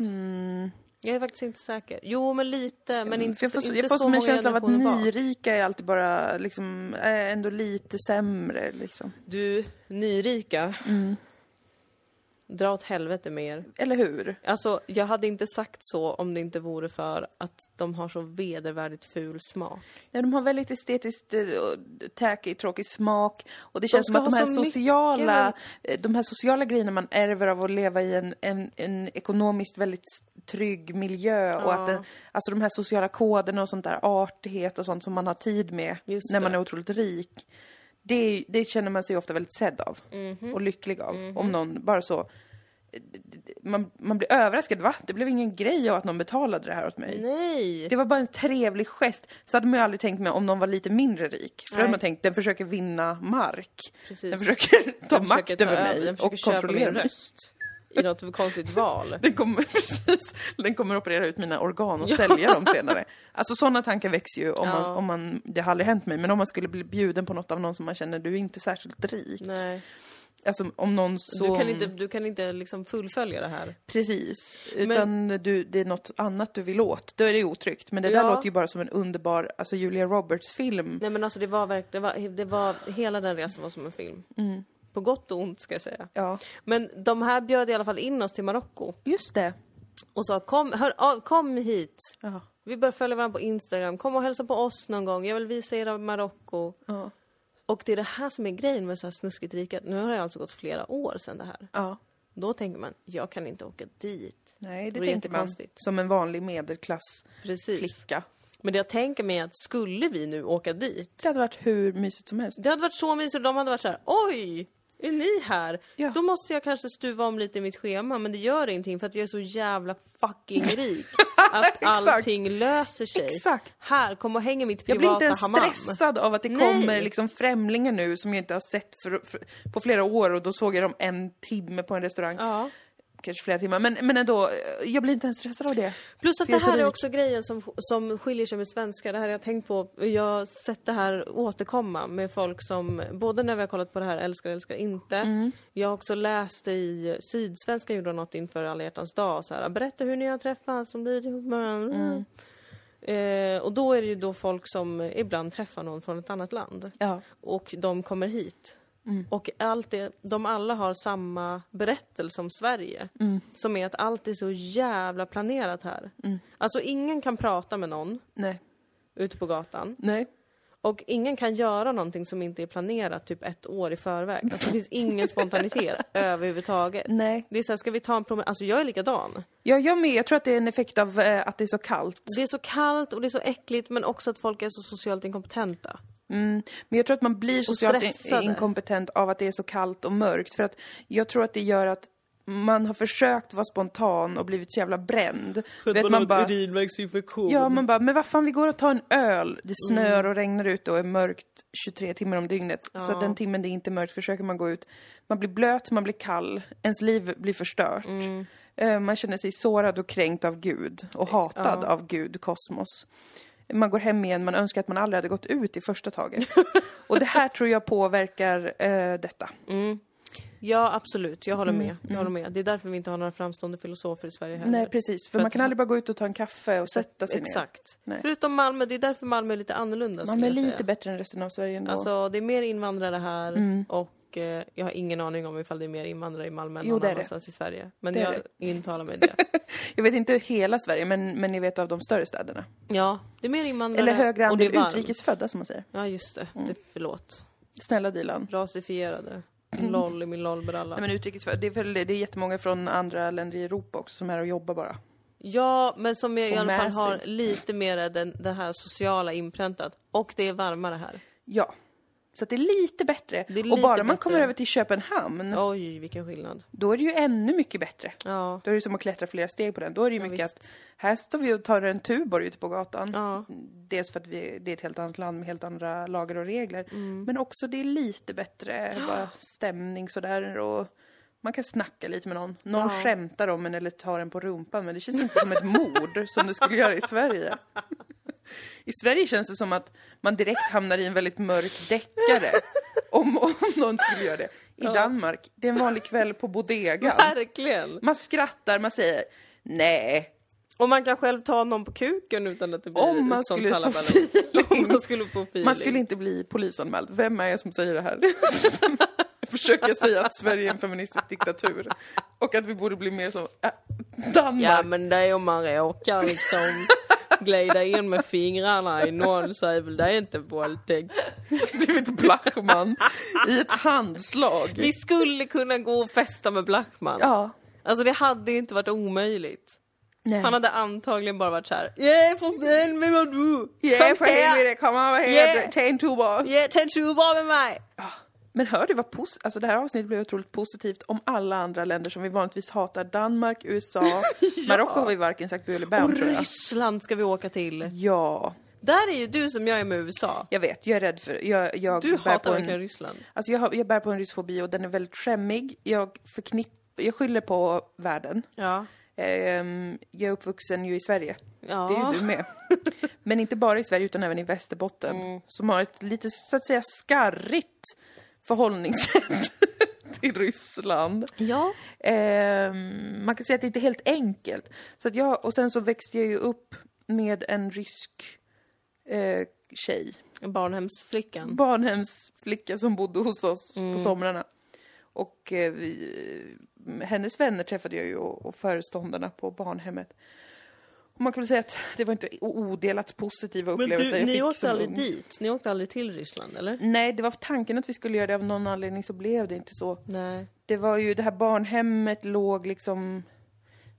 Speaker 1: Jag är faktiskt inte säker. Jo, men lite, men inte,
Speaker 2: Mm. För jag får,
Speaker 1: inte
Speaker 2: jag får
Speaker 1: så
Speaker 2: som en
Speaker 1: många
Speaker 2: känsla av att
Speaker 1: generationer bak.
Speaker 2: nyrika är alltid bara liksom, eh, ändå lite sämre liksom.
Speaker 1: Du, nyrika.
Speaker 2: Mm.
Speaker 1: Dra åt helvete med er.
Speaker 2: Eller hur?
Speaker 1: Alltså, jag hade inte sagt så om det inte vore för att de har så vedervärdigt ful smak.
Speaker 2: Ja, de har väldigt estetiskt eh, och tacky, tråkig smak och det känns
Speaker 1: ska
Speaker 2: som att de
Speaker 1: ha
Speaker 2: här,
Speaker 1: så mycket,
Speaker 2: sociala,
Speaker 1: men-
Speaker 2: eh, de här sociala grejerna man ärver av att leva i en, en, en ekonomiskt väldigt s- trygg miljö och att det, alltså de här sociala koderna och sånt där, artighet och sånt som man har tid med
Speaker 1: Just
Speaker 2: när man
Speaker 1: det.
Speaker 2: är otroligt rik. Det, det känner man sig ofta väldigt sedd av
Speaker 1: Mm.
Speaker 2: och lycklig av.
Speaker 1: Mm-hmm.
Speaker 2: Om någon bara så... eh, d- d- Man, man blir överraskad, va? Det blev ingen grej av att någon betalade det här åt mig.
Speaker 1: Nej!
Speaker 2: Det var bara en trevlig gest. Så hade man ju aldrig tänkt med om någon var lite mindre rik. För då hade
Speaker 1: Nej.
Speaker 2: man tänkt, den försöker vinna mark.
Speaker 1: Precis.
Speaker 2: Den försöker ta
Speaker 1: Den
Speaker 2: makt
Speaker 1: försöker ta
Speaker 2: över mig
Speaker 1: den försöker
Speaker 2: och
Speaker 1: köpa
Speaker 2: kontrollera
Speaker 1: min
Speaker 2: mig.
Speaker 1: röst. I något konstigt val.
Speaker 2: Den kommer, precis, den kommer operera ut mina organ och sälja dem senare. Alltså sådana tankar väcks ju om, man,
Speaker 1: Ja.
Speaker 2: om man, det har aldrig hänt mig, men om man skulle bli bjuden på något av någon som man känner, du är inte särskilt rik.
Speaker 1: Nej.
Speaker 2: Alltså om någon som...
Speaker 1: Du kan inte, du kan inte liksom fullfölja det här.
Speaker 2: Precis, utan du, det är något annat du vill åt. Då är det otryggt, men det där
Speaker 1: Ja.
Speaker 2: låter ju bara som en underbar, alltså Julia Roberts-film.
Speaker 1: Nej men alltså det var verkligen, det var, det var, hela den resan var som en film.
Speaker 2: Mm.
Speaker 1: På gott och ont ska jag säga.
Speaker 2: Ja,
Speaker 1: Men de här bjöd i alla fall in oss till Marocko
Speaker 2: just det.
Speaker 1: och sa kom, hör, av- kom hit.
Speaker 2: Ja.
Speaker 1: Vi började följa varandra på Instagram. Kom och hälsa på oss någon gång. Jag vill visa er Marocko.
Speaker 2: Ja.
Speaker 1: Och det är det här som är grejen med så här snuskigt rika. Nu har det alltså gått flera år sedan det här.
Speaker 2: Ja.
Speaker 1: Då tänker man, jag kan inte åka dit.
Speaker 2: Nej, det
Speaker 1: vore
Speaker 2: tänker man
Speaker 1: jättekonstigt.
Speaker 2: som en vanlig medelklassflicka.
Speaker 1: Precis. Men det jag tänker mig är att skulle vi nu åka dit
Speaker 2: Det hade varit hur mysigt som helst.
Speaker 1: Det hade varit så mysigt och de hade varit så här: oj! Är ni här?
Speaker 2: Ja.
Speaker 1: Då måste jag kanske stuva om lite i mitt schema men det gör ingenting för att jag är så jävla fucking rik. Att allting löser sig.
Speaker 2: Exakt.
Speaker 1: Här, kom och häng i mitt
Speaker 2: Jag blir inte
Speaker 1: privata
Speaker 2: ens
Speaker 1: hammam.
Speaker 2: stressad av att det
Speaker 1: Nej.
Speaker 2: kommer liksom främlingar nu som jag inte har sett för, för, på flera år och då såg jag dem en timme på en restaurang.
Speaker 1: Ja.
Speaker 2: Kanske flera timmar, men, men ändå, eh, jag blir inte ens stressad av det.
Speaker 1: Plus att
Speaker 2: För jag
Speaker 1: det
Speaker 2: är så
Speaker 1: här är
Speaker 2: rik.
Speaker 1: också grejen som, som skiljer sig med svenskar. Det här har jag tänkt på. Jag har sett det här återkomma med folk som, både när vi har kollat på det här älskar, älskar inte. Jag har också läst i Sydsvenska gjorde något inför alla hjärtans dag. Så här, Berätta hur ni har träffats, som blir ihop med varandra." Eh, och då är det ju då folk som ibland träffar någon från ett annat land.
Speaker 2: Ja.
Speaker 1: Och de kommer hit. Och allt det, de alla har samma berättelse om Sverige. Som är att allt är så jävla planerat här. Alltså ingen kan prata med någon
Speaker 2: Nej.
Speaker 1: ute på gatan.
Speaker 2: Nej.
Speaker 1: Och ingen kan göra någonting som inte är planerat typ ett år i förväg. Alltså, det finns ingen spontanitet överhuvudtaget.
Speaker 2: Nej.
Speaker 1: Det är såhär, ska vi ta en promenad? Alltså jag är likadan.
Speaker 2: Ja, jag med. Jag tror att det är en effekt av eh, att det är så kallt.
Speaker 1: Det är så kallt och det är så äckligt men också att folk är så socialt inkompetenta.
Speaker 2: Men jag tror att man blir socialt in-
Speaker 1: stressade.
Speaker 2: inkompetent av att det är så kallt och mörkt. För att jag tror att det gör att man har försökt vara spontan och blivit så jävla bränd. Du vet, man bara,
Speaker 1: urinvägsinfektion.
Speaker 2: ja, man bara, men vad fan vi går och tar en öl.
Speaker 1: Mm.
Speaker 2: Det snör och regnar ute och är mörkt 23 timmar om dygnet. Så den timmen det inte är mörkt försöker man gå ut. Man blir blöt, man blir kall, ens liv blir förstört.
Speaker 1: Mm.
Speaker 2: Eh, Man känner sig sårad och kränkt av Gud och hatad av Gud, kosmos. Man går hem igen, man önskar att man aldrig hade gått ut i första taget. och det här tror jag påverkar eh, detta.
Speaker 1: Ja absolut, jag håller med. Jag håller med. Det är därför vi inte har några framstående filosofer i Sverige heller.
Speaker 2: Mm, Nej, precis. För,
Speaker 1: För
Speaker 2: man
Speaker 1: att-
Speaker 2: kan aldrig bara gå ut och ta en kaffe och sätta sig ner.
Speaker 1: Exakt.
Speaker 2: Nej.
Speaker 1: Förutom Malmö, det är därför Malmö är lite annorlunda
Speaker 2: Man är
Speaker 1: skulle jag
Speaker 2: lite
Speaker 1: säga.
Speaker 2: bättre Mm. än resten av Sverige ändå.
Speaker 1: Alltså det är mer invandrare här och eh, jag har ingen aning om ifall det är mer invandrare i Malmö än
Speaker 2: Jo,
Speaker 1: någon
Speaker 2: det är det.
Speaker 1: annanstans i Sverige. Men
Speaker 2: Det är
Speaker 1: jag intalar mig det.
Speaker 2: Jag vet inte hela Sverige, men, men ni vet av de större städerna.
Speaker 1: Ja, det är mer invandrare
Speaker 2: Eller högre
Speaker 1: och det är
Speaker 2: andel Mm.
Speaker 1: varmt.
Speaker 2: utrikesfödda som man säger.
Speaker 1: Ja just det, det förlåt.
Speaker 2: Snälla Dilan.
Speaker 1: Rasifierade. Loll i min lollbralla.
Speaker 2: Nej Mm. men utrikesfödda, det är, väl, det är jättemånga från andra länder i Europa också som är här och jobbar bara.
Speaker 1: Ja, men som jag i
Speaker 2: Och
Speaker 1: alla fall
Speaker 2: med sig.
Speaker 1: har lite mer den, det här sociala inpräntat. Och det är varmare här.
Speaker 2: Ja. Så att det är lite bättre.
Speaker 1: Det är
Speaker 2: och
Speaker 1: lite
Speaker 2: bara man
Speaker 1: bättre.
Speaker 2: kommer över till Köpenhamn,
Speaker 1: Oj, vilken skillnad.
Speaker 2: då är det ju ännu mycket bättre.
Speaker 1: Ja.
Speaker 2: Då är det som att klättra flera steg på den. Då är det ju mycket
Speaker 1: visst.
Speaker 2: att här står vi och tar en Tuborg ute på gatan.
Speaker 1: Ja.
Speaker 2: Dels för att vi, det är ett helt annat land med helt andra lagar och regler. Men också det är lite bättre bara stämning sådär och man kan snacka lite med någon. Någon skämtar om en eller tar en på rumpan men det känns inte som ett mord som det skulle göra i Sverige. I Sverige känns det som att man direkt hamnar i en väldigt mörk deckare. Om, om någon skulle göra det. I Danmark, det är en vanlig kväll på bodegan.
Speaker 1: Verkligen!
Speaker 2: Man skrattar, man säger nej.
Speaker 1: Och man kan själv ta någon på kuken utan att det blir
Speaker 2: Om man
Speaker 1: ett sånt
Speaker 2: skulle få
Speaker 1: halabaloo.
Speaker 2: feeling.
Speaker 1: Om man skulle få feeling.
Speaker 2: Man skulle inte bli polisanmäld. Vem är jag som säger det här? Jag Försöker säga att Sverige är en feministisk diktatur och att vi borde bli mer som äh, Danmark.
Speaker 1: Ja men det är om man råkar liksom glida in med fingrarna i någon så är väl det inte våldtäkt.
Speaker 2: Blivit Blachman i ett handslag.
Speaker 1: Vi skulle kunna gå och festa med Blackman.
Speaker 2: Ja.
Speaker 1: Alltså det hade inte varit omöjligt.
Speaker 2: Nej.
Speaker 1: Han hade antagligen bara varit såhär Yeah för fan, vem är du?
Speaker 2: Yeah,
Speaker 1: Kom
Speaker 2: för
Speaker 1: här!
Speaker 2: helvete, kom över
Speaker 1: Yeah.
Speaker 2: här, ta en tuba.
Speaker 1: Yeah, tänd tjuvar med mig!
Speaker 2: Men hör du vad pos- alltså det här avsnittet blev otroligt positivt om alla andra länder som vi vanligtvis hatar. Danmark, USA, Marocko har vi varken sagt bu eller bä om, tror jag.
Speaker 1: Ryssland ska vi åka till.
Speaker 2: Ja,
Speaker 1: Där är ju du som jag är med USA.
Speaker 2: jag vet. Jag är rädd för... Jag, jag
Speaker 1: Du
Speaker 2: bär
Speaker 1: hatar
Speaker 2: på
Speaker 1: verkligen
Speaker 2: en,
Speaker 1: Ryssland.
Speaker 2: alltså jag, har- jag bär på en ryssfobi och den är väldigt skämmig. Jag förknipp, Jag skyller på världen.
Speaker 1: Ja.
Speaker 2: Ehm, jag är uppvuxen ju i Sverige.
Speaker 1: Ja.
Speaker 2: Det är ju du med. Men inte bara i Sverige utan även i Västerbotten. Som har ett lite, så att säga, skarrigt förhållningssätt till Ryssland.
Speaker 1: Ja.
Speaker 2: Ehm, man kan säga att det inte är helt enkelt. Så att jag, och sen så växte jag ju upp med en rysk eh, tjej.
Speaker 1: Barnhemsflickan.
Speaker 2: Barnhemsflicka som bodde hos oss på somrarna. Och eh, vi, hennes vänner träffade jag ju och, och föreståndarna på barnhemmet. Och man kan väl säga att det var inte o- odelat positiva upplevelser jag fick som ung.
Speaker 1: dit? Ni åkte aldrig till Ryssland eller?
Speaker 2: Nej, det var tanken att vi skulle göra det av någon anledning så blev det inte så.
Speaker 1: Nej.
Speaker 2: Det var ju, det här barnhemmet låg liksom...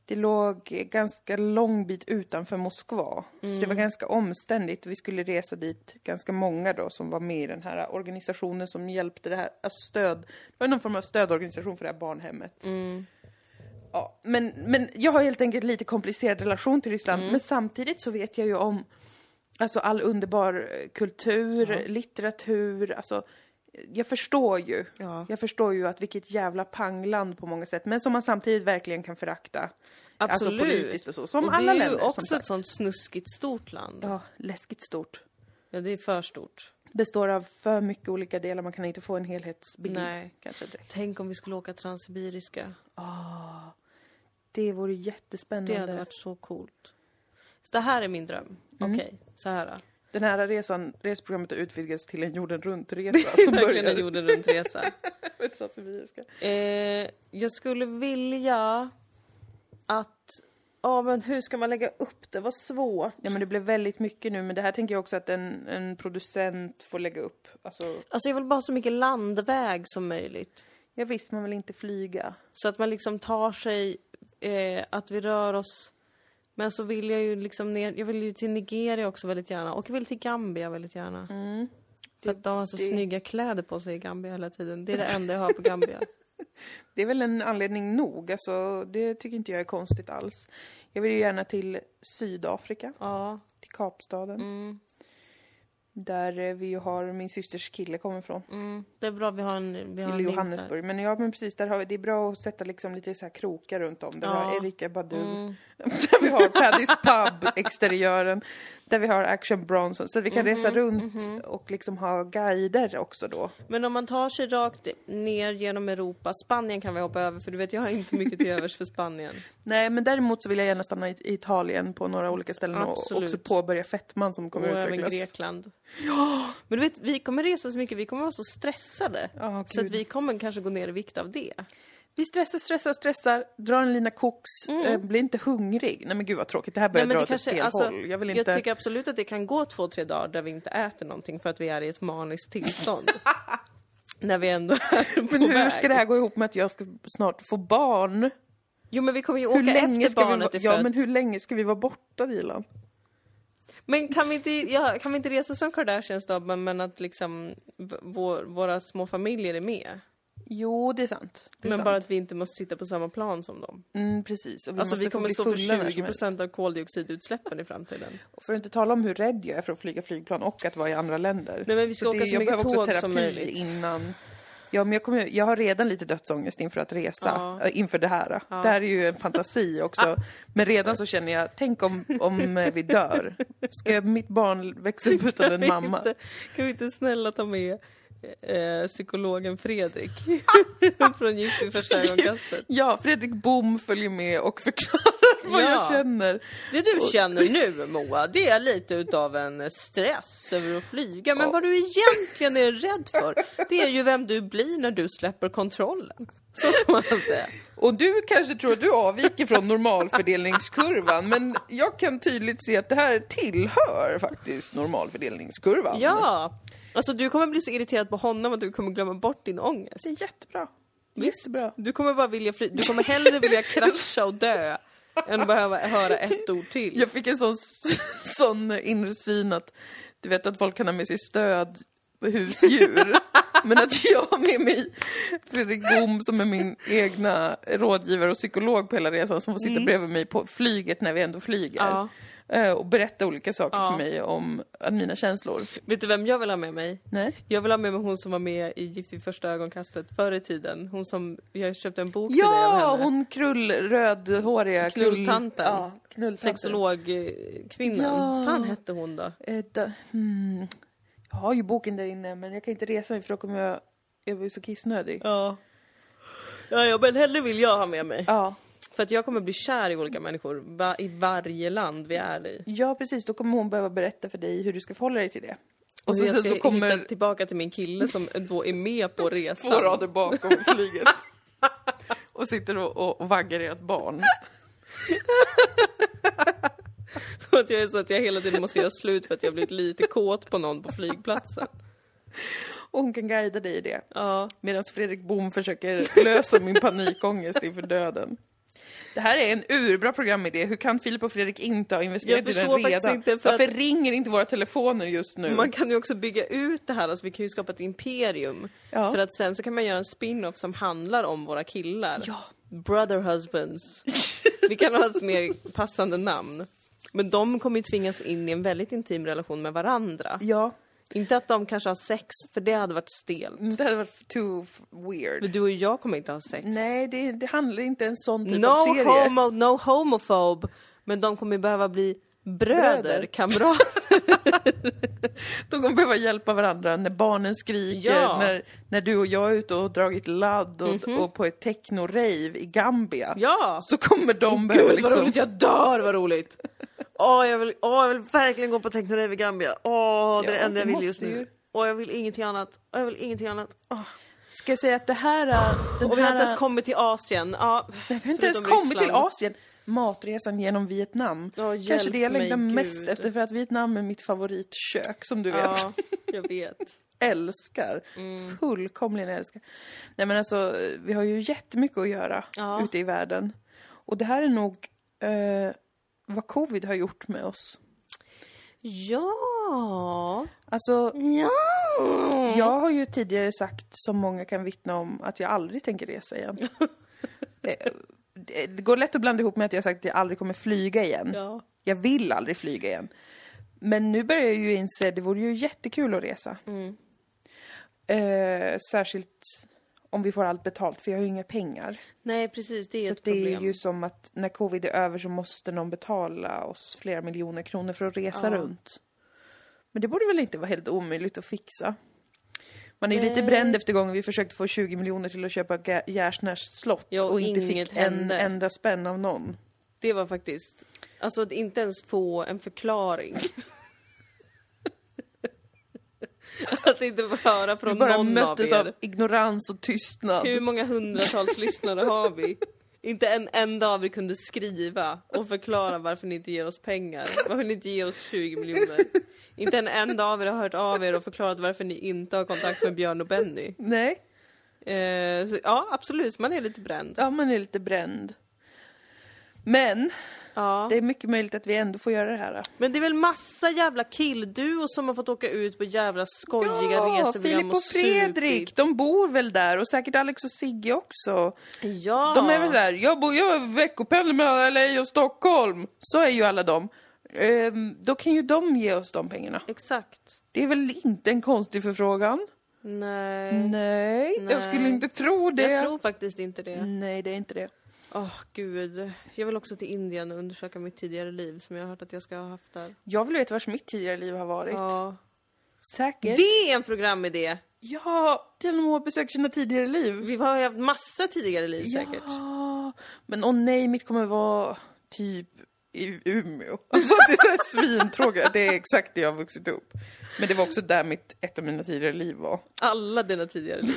Speaker 2: Det låg ganska lång bit utanför Moskva. Så det var ganska omständigt. Vi skulle resa dit, ganska många då, som var med i den här organisationen som hjälpte det här, alltså stöd. Det var någon form av stödorganisation för det här barnhemmet. Ja, men, men jag har helt enkelt lite komplicerad relation till Ryssland.
Speaker 1: Mm.
Speaker 2: Men samtidigt så vet jag ju om Alltså all underbar eh, kultur, litteratur, alltså eh, jag förstår ju.
Speaker 1: Ja.
Speaker 2: Jag förstår ju att vilket jävla pangland på många sätt, men som man samtidigt verkligen kan förakta.
Speaker 1: Absolut.
Speaker 2: Alltså politiskt och så, som
Speaker 1: och
Speaker 2: alla
Speaker 1: det är
Speaker 2: länder
Speaker 1: ju också
Speaker 2: som sagt.
Speaker 1: ett sånt snuskigt stort land. Ja.
Speaker 2: Ja, läskigt stort.
Speaker 1: det är för stort.
Speaker 2: Består av för mycket olika delar, man kan inte få en helhetsbild.
Speaker 1: Nej.
Speaker 2: Kanske direkt.
Speaker 1: Tänk om vi skulle åka Transsibiriska.
Speaker 2: Det vore
Speaker 1: Det
Speaker 2: jättespännande. Mm.
Speaker 1: hade varit så coolt. Så det här är min dröm. Okej, så här. då.
Speaker 2: Den här resan, resprogrammet har utvidgats till en jorden runt-resa som
Speaker 1: Verkligen en
Speaker 2: börjar
Speaker 1: jorden runt-resa.
Speaker 2: med Transsibiriska.
Speaker 1: Eh, jag skulle vilja att... Ja, men hur ska man lägga upp det? Vad svårt.
Speaker 2: Ja men det blev väldigt mycket nu men det här tänker jag också att en, en producent får lägga upp. Alltså,
Speaker 1: Alltså jag vill bara ha så mycket landväg som möjligt.
Speaker 2: ja visst man vill inte flyga.
Speaker 1: Så att man liksom tar sig, eh, att vi rör oss. Men så vill jag ju liksom ner, jag vill ju till Nigeria också väldigt gärna och jag vill till Gambia väldigt gärna. För att de har så
Speaker 2: Mm. det-
Speaker 1: snygga kläder på sig i Gambia hela tiden. Det är det enda jag har på Gambia.
Speaker 2: Det är väl en anledning nog, alltså det tycker inte jag är konstigt alls. Jag vill ju gärna till Sydafrika,
Speaker 1: ja.
Speaker 2: till Kapstaden. Där eh, vi ju har, min systers kille kommer ifrån.
Speaker 1: Mm. Det är bra vi har en, vi har
Speaker 2: Eller
Speaker 1: en link där.
Speaker 2: Johannesburg. Men ja men precis, där har vi, det är bra att sätta liksom lite så här krokar runt om. Där vi
Speaker 1: Ja. Mm.
Speaker 2: har Erika Badu. Där vi har Paddys pub, exteriören. Där vi har Action Bronson. Så att vi kan
Speaker 1: Mhm,
Speaker 2: resa runt och liksom ha guider också då.
Speaker 1: Men om man tar sig rakt ner genom Europa, Spanien kan vi hoppa över för du vet jag har inte mycket till övers för Spanien.
Speaker 2: Nej men däremot så vill jag gärna stanna i i Italien på några olika ställen och
Speaker 1: Absolut.
Speaker 2: också påbörja fetman som
Speaker 1: Och
Speaker 2: kommer
Speaker 1: även
Speaker 2: utvecklas.
Speaker 1: Grekland. Men du vet, vi kommer resa så mycket, vi kommer vara så stressade.
Speaker 2: Ja,
Speaker 1: Så att
Speaker 2: gud.
Speaker 1: vi kommer kanske gå ner i vikt av det.
Speaker 2: Vi stressar, stressar, stressar, drar en lina koks, eh, blir inte hungrig. Nej men gud vad tråkigt, det här börjar
Speaker 1: Mm. Nej, men det
Speaker 2: dra åt ett
Speaker 1: kanske,
Speaker 2: fel
Speaker 1: alltså,
Speaker 2: håll. Jag vill
Speaker 1: jag
Speaker 2: inte...
Speaker 1: tycker absolut att det kan gå två, tre dagar där vi inte äter någonting för att vi är i ett maniskt tillstånd. När vi ändå är på
Speaker 2: Men hur
Speaker 1: väg.
Speaker 2: ska det här gå ihop med att jag ska snart få barn?
Speaker 1: Jo men vi kommer ju
Speaker 2: Hur
Speaker 1: åka
Speaker 2: länge
Speaker 1: efter
Speaker 2: ska vi,
Speaker 1: barnet
Speaker 2: va-
Speaker 1: är
Speaker 2: ja,
Speaker 1: fött.
Speaker 2: men hur länge ska vi vara borta Dilan?
Speaker 1: Men kan vi inte, ja, kan vi inte resa som Kardashians då, men, men att liksom v- vår, våra små familjer är med?
Speaker 2: Jo, det är sant. Det är
Speaker 1: Men
Speaker 2: sant.
Speaker 1: bara att vi inte måste sitta på samma plan som dem.
Speaker 2: Mm, precis. Och vi
Speaker 1: alltså
Speaker 2: måste
Speaker 1: vi
Speaker 2: få
Speaker 1: kommer
Speaker 2: bli
Speaker 1: stå för
Speaker 2: fulla när som
Speaker 1: 20
Speaker 2: helst.
Speaker 1: procent av koldioxidutsläppen i framtiden.
Speaker 2: Och För att inte tala om hur rädd jag är för att flyga flygplan och att vara i andra länder.
Speaker 1: Nej, men vi ska
Speaker 2: det-
Speaker 1: åka så
Speaker 2: jag
Speaker 1: mycket
Speaker 2: behöver också
Speaker 1: tåg
Speaker 2: terapi
Speaker 1: som möjligt.
Speaker 2: innan. Ja, men jag, kommer, jag har redan lite dödsångest inför att resa,
Speaker 1: Ja.
Speaker 2: äh, inför det här. Det här är ju en fantasi också. Men redan så känner jag, tänk om, om eh, vi dör. Ska mitt barn växa upp utan en mamma?
Speaker 1: Kan vi inte, kan vi inte snälla ta med eh, psykologen Fredrik från Gift i första ögonkastet?
Speaker 2: Ja, Fredrik Bom följer med och förklarar vad
Speaker 1: Ja.
Speaker 2: jag känner.
Speaker 1: Det du känner nu Moa, det är lite utav en stress över att flyga. Men vad du egentligen är rädd för, det är ju vem du blir när du släpper kontrollen. Så kan man säga.
Speaker 2: Och du kanske tror att du avviker från normalfördelningskurvan, men jag kan tydligt se att det här tillhör faktiskt normalfördelningskurvan.
Speaker 1: Ja! Alltså du kommer bli så irriterad på honom att du kommer glömma bort din ångest.
Speaker 2: Det är jättebra.
Speaker 1: Visst.
Speaker 2: Jättebra.
Speaker 1: Du kommer bara vilja fly. Du kommer hellre vilja krascha och dö än behöva höra ett ord till.
Speaker 2: Jag fick en sån, sån inre syn att du vet att folk kan ha med sig stöd husdjur. Men att jag har med mig Fredrik Bom som är min egna rådgivare och psykolog på hela resan som får sitta bredvid mig på flyget när vi ändå flyger.
Speaker 1: Mm. Ja.
Speaker 2: Eh, Och berätta olika saker
Speaker 1: Ja.
Speaker 2: för mig om eh, mina känslor.
Speaker 1: Vet du vem jag vill ha med mig?
Speaker 2: Nej.
Speaker 1: Jag vill ha med mig hon som var med i Gift vid första ögonkastet förr i tiden. Hon som, jag köpte en bok till dig av
Speaker 2: Ja,
Speaker 1: henne.
Speaker 2: hon krullrödhåriga krull-
Speaker 1: Knulltanten.
Speaker 2: Ja, knulltanten.
Speaker 1: Sexologkvinnan.
Speaker 2: Ja.
Speaker 1: fan hette hon då?
Speaker 2: Eh, da- hmm. Jag har ju boken där inne men jag kan inte resa mig för då kommer jag... Jag blir så kissnödig.
Speaker 1: Ja. Ja, ja, men hellre vill jag ha med mig.
Speaker 2: Ja.
Speaker 1: För att jag kommer bli kär i olika människor va- i varje land vi är i.
Speaker 2: ja, precis. Då kommer hon behöva berätta för dig hur du ska förhålla dig till det. Och,
Speaker 1: Och
Speaker 2: så,
Speaker 1: jag
Speaker 2: sen
Speaker 1: ska
Speaker 2: så kommer...
Speaker 1: hitta tillbaka till min kille som då är med på resan.
Speaker 2: Två rader bakom flyget. och sitter och, och, och vaggar ert barn.
Speaker 1: Och att jag är så att jag hela tiden måste göra slut för att jag blivit lite kåt på någon på flygplatsen.
Speaker 2: Och hon kan guida dig i det.
Speaker 1: Ja.
Speaker 2: Medan Fredrik Bohm försöker lösa min panikångest inför döden. Det här är en urbra programidé. Hur kan Filip och Fredrik inte ha investerat
Speaker 1: Jag
Speaker 2: i den
Speaker 1: förstår faktiskt
Speaker 2: redan?
Speaker 1: inte, för
Speaker 2: Varför
Speaker 1: att-
Speaker 2: ringer inte våra telefoner just nu?
Speaker 1: Man kan ju också bygga ut det här, alltså vi kan ju skapa ett imperium.
Speaker 2: Ja.
Speaker 1: För att sen så kan man göra en spin-off som handlar om våra killar.
Speaker 2: Ja.
Speaker 1: Brother husbands. Vi kan ha ett mer passande namn. Men de kommer ju tvingas in i en väldigt intim relation med varandra.
Speaker 2: Ja,
Speaker 1: Inte att de kanske har sex, för det hade varit stelt.
Speaker 2: det hade varit too f- weird.
Speaker 1: Men du och jag kommer inte ha sex.
Speaker 2: Nej, det, det handlar inte en sån typ av
Speaker 1: No
Speaker 2: serie.
Speaker 1: homo, no homophobe. Men de kommer ju behöva bli bröder,
Speaker 2: Bröder.
Speaker 1: kamrater.
Speaker 2: De kommer behöva hjälpa varandra när barnen skriker,
Speaker 1: Ja. Mhm.
Speaker 2: när, när du och jag är ute och dragit ladd och, och på ett techno-rave i Gambia.
Speaker 1: Ja!
Speaker 2: Så kommer de
Speaker 1: Gud
Speaker 2: behöva
Speaker 1: vad
Speaker 2: liksom...
Speaker 1: roligt, jag dör vad roligt! Åh, jag vill, åh, jag vill verkligen gå på Technorave i Gambia. Åh, det är det
Speaker 4: Ja,
Speaker 1: enda jag
Speaker 4: det
Speaker 1: vill just
Speaker 4: måste ju.
Speaker 1: nu. Åh, jag vill ingenting annat. Åh, jag vill ingenting annat.
Speaker 2: Ska jag säga att det här... är- Den
Speaker 1: Och vi har
Speaker 2: här
Speaker 1: inte ens
Speaker 2: är-
Speaker 1: kommit till Asien. Ja,
Speaker 2: Nej, vi har inte ens
Speaker 1: förutom
Speaker 2: kommit till
Speaker 1: Ryssland.
Speaker 2: Asien. Matresan genom Vietnam.
Speaker 1: Ja,
Speaker 2: Kanske
Speaker 1: hjälp
Speaker 2: det jag längtar
Speaker 1: mig,
Speaker 2: mest
Speaker 1: Gud.
Speaker 2: efter för att Vietnam är mitt favoritkök som du vet.
Speaker 1: Ja, Mm. jag vet.
Speaker 2: älskar. Fullkomligen älskar. Nej men alltså, vi har ju jättemycket att göra
Speaker 1: Ja.
Speaker 2: ute i världen. Och det här är nog eh, vad covid har gjort med oss.
Speaker 1: Ja.
Speaker 2: Alltså,
Speaker 1: Ja.
Speaker 2: jag har ju tidigare sagt, som många kan vittna om, att jag aldrig tänker resa igen. Eh, det, det går lätt att blanda ihop med att jag har sagt att jag aldrig kommer flyga igen.
Speaker 1: Ja.
Speaker 2: Jag vill aldrig flyga igen. Men nu börjar jag ju inse, det vore ju jättekul att resa. Eh, särskilt om vi får allt betalt, för jag har ju inga pengar.
Speaker 1: Nej, precis. Det är
Speaker 2: Så
Speaker 1: ett
Speaker 2: det
Speaker 1: problem.
Speaker 2: är ju som att när covid är över så måste någon betala oss flera miljoner kronor för att resa
Speaker 1: Ja.
Speaker 2: runt. Men det borde väl inte vara helt omöjligt att fixa? Man är ju lite
Speaker 1: Nej.
Speaker 2: bränd efter gången vi försökte få 20 miljoner till att köpa Ga- Gärsnäs slott
Speaker 1: Ja, och
Speaker 2: och inte
Speaker 1: inget
Speaker 2: fick en
Speaker 1: hände.
Speaker 2: enda spänn av någon.
Speaker 1: Det var faktiskt... Alltså att inte ens få en förklaring. att inte få höra
Speaker 2: Vi
Speaker 1: från
Speaker 2: bara
Speaker 1: någon av
Speaker 2: möttes
Speaker 1: er.
Speaker 2: av ignorans och tystnad.
Speaker 1: Hur många hundratals lyssnare har vi? Inte en enda av er kunde skriva och förklara varför ni inte ger oss pengar. Varför ni inte ger oss 20 miljoner. Inte en enda av er har hört av er och förklarat varför ni inte har kontakt med Björn och Benny.
Speaker 2: Nej,
Speaker 1: Eh, så, ja, absolut, man är lite bränd.
Speaker 2: ja man är lite bränd. Men
Speaker 1: Ja.
Speaker 2: det är mycket möjligt att vi ändå får göra det här.
Speaker 1: Men det är väl massa jävla killduos som har fått åka ut på jävla skojiga reseprogram
Speaker 2: Filip och Fredrik,
Speaker 1: supit.
Speaker 2: de bor väl där och säkert Alex och Sigge också.
Speaker 1: Ja.
Speaker 2: De är väl där, jag, bor, jag veckopendlar mellan LA och Stockholm. Så är ju alla de. Ehm, då kan ju de ge oss de pengarna.
Speaker 1: Exakt.
Speaker 2: Det är väl inte en konstig förfrågan?
Speaker 1: Nej.
Speaker 2: Nej, jag
Speaker 1: Nej.
Speaker 2: skulle inte tro Mm, det.
Speaker 1: Jag tror faktiskt inte det.
Speaker 2: Nej, det är inte det.
Speaker 1: Åh gud. Jag vill också till Indien och undersöka mitt tidigare liv som jag har hört att jag ska ha haft där.
Speaker 2: Jag vill veta vars mitt tidigare liv har varit.
Speaker 1: Ja.
Speaker 2: Säkert.
Speaker 1: Det är en programidé!
Speaker 2: Ja, till och med besökt sina tidigare liv.
Speaker 1: Vi har ju haft massa tidigare liv säkert.
Speaker 2: Ja, Ah, men åh nej, mitt kommer vara typ i Umeå. Alltså det är så här svintråkigt, det är exakt det jag har vuxit upp. Men det var också där mitt, ett av mina tidigare liv var.
Speaker 1: Alla dina tidigare liv.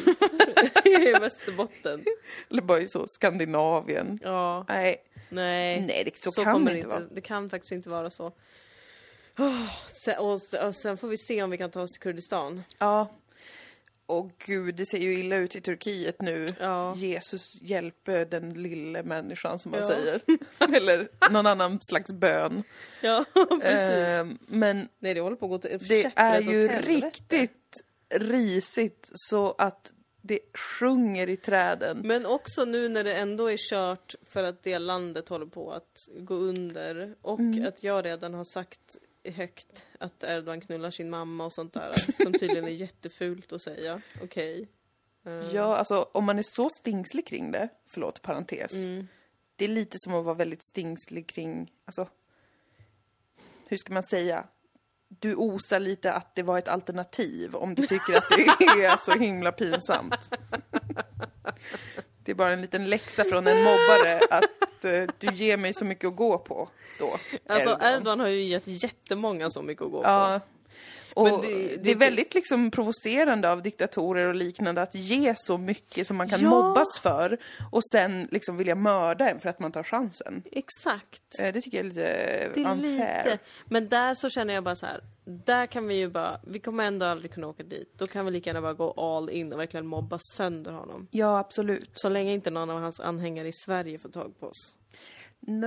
Speaker 1: I Västerbotten.
Speaker 2: Eller bara i så Skandinavien.
Speaker 1: Ja.
Speaker 2: Nej,
Speaker 1: Nej.
Speaker 2: nej det, så, kan
Speaker 1: kommer
Speaker 2: det inte vara.
Speaker 1: Det kan faktiskt inte vara så. Åh, sen, och, s- och sen får vi se om vi kan ta oss till Kurdistan.
Speaker 2: Ja. Åh gud, det ser ju illa ut i Turkiet nu.
Speaker 1: Ja.
Speaker 2: Jesus hjälper den lilla människan som man
Speaker 1: Ja.
Speaker 2: säger. Eller någon annan slags bön.
Speaker 1: Ja,
Speaker 2: Ehm, men
Speaker 1: Nej, det håller på att gå till
Speaker 2: Det är
Speaker 1: käpprätt åt
Speaker 2: ju
Speaker 1: helvete.
Speaker 2: riktigt risigt så att det sjunger i träden.
Speaker 1: Men också nu när det ändå är kört för att det landet håller på att gå under och
Speaker 2: Mm.
Speaker 1: att jag redan har sagt högt att Erdogan knullar sin mamma och sånt där som tydligen är jättefult att säga. Okej. Eh,
Speaker 2: Ja, alltså om man är så stingslig kring det, förlåt parentes,
Speaker 1: Mm.
Speaker 2: det är lite som att vara väldigt stingslig kring, alltså, hur ska man säga? Du osar lite att det var ett alternativ om du tycker att det är så himla pinsamt. Det är bara en liten läxa från en mobbare att eh, du ger mig så mycket att gå på då.
Speaker 1: Alltså
Speaker 2: Erdogan.
Speaker 1: Erdogan har ju gett jättemånga så mycket att gå på.
Speaker 2: Ja. Och
Speaker 1: Men
Speaker 2: det,
Speaker 1: det- det-
Speaker 2: är väldigt liksom provocerande av diktatorer och liknande att ge så mycket som man kan
Speaker 1: Ja.
Speaker 2: mobbas för och sen liksom vilja mörda en för att man tar chansen.
Speaker 1: Exakt.
Speaker 2: Eh, Det tycker jag är lite
Speaker 1: Det är
Speaker 2: unfair.
Speaker 1: lite. Men där så känner jag bara så här. Där kan vi ju bara, vi kommer ändå aldrig kunna åka dit. Då kan vi lika gärna bara gå all in och verkligen mobba sönder honom.
Speaker 2: Ja, absolut.
Speaker 1: Så länge inte någon av hans anhängare i Sverige får tag på oss.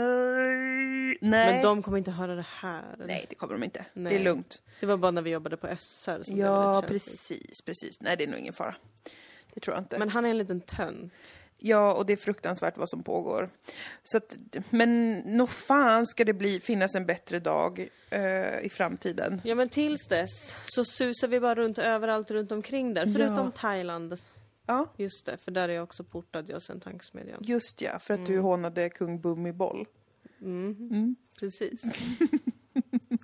Speaker 2: Nej. Nej.
Speaker 1: Men de kommer inte höra det här.
Speaker 2: Nej, det kommer de inte.
Speaker 1: Nej.
Speaker 2: Det är lugnt.
Speaker 1: Det var bara när vi jobbade på SR som det var
Speaker 2: Ja,
Speaker 1: lite känsligt.
Speaker 2: precis, precis. Nej, det är nog ingen fara. Det tror jag inte.
Speaker 1: Men han är en liten tönt.
Speaker 2: Ja, och det är fruktansvärt vad som pågår. Så att, men nog fan ska det bli, finnas en bättre dag eh, i framtiden.
Speaker 1: Ja men tills dess så susar vi bara runt överallt runt omkring där. Förutom Thailand.
Speaker 2: Ja.
Speaker 1: Just det, för där är jag också portad jag sen tankesmedjan.
Speaker 2: Just ja, för att du
Speaker 1: Mm.
Speaker 2: hånade kung Bummiboll. Mm.
Speaker 1: Precis.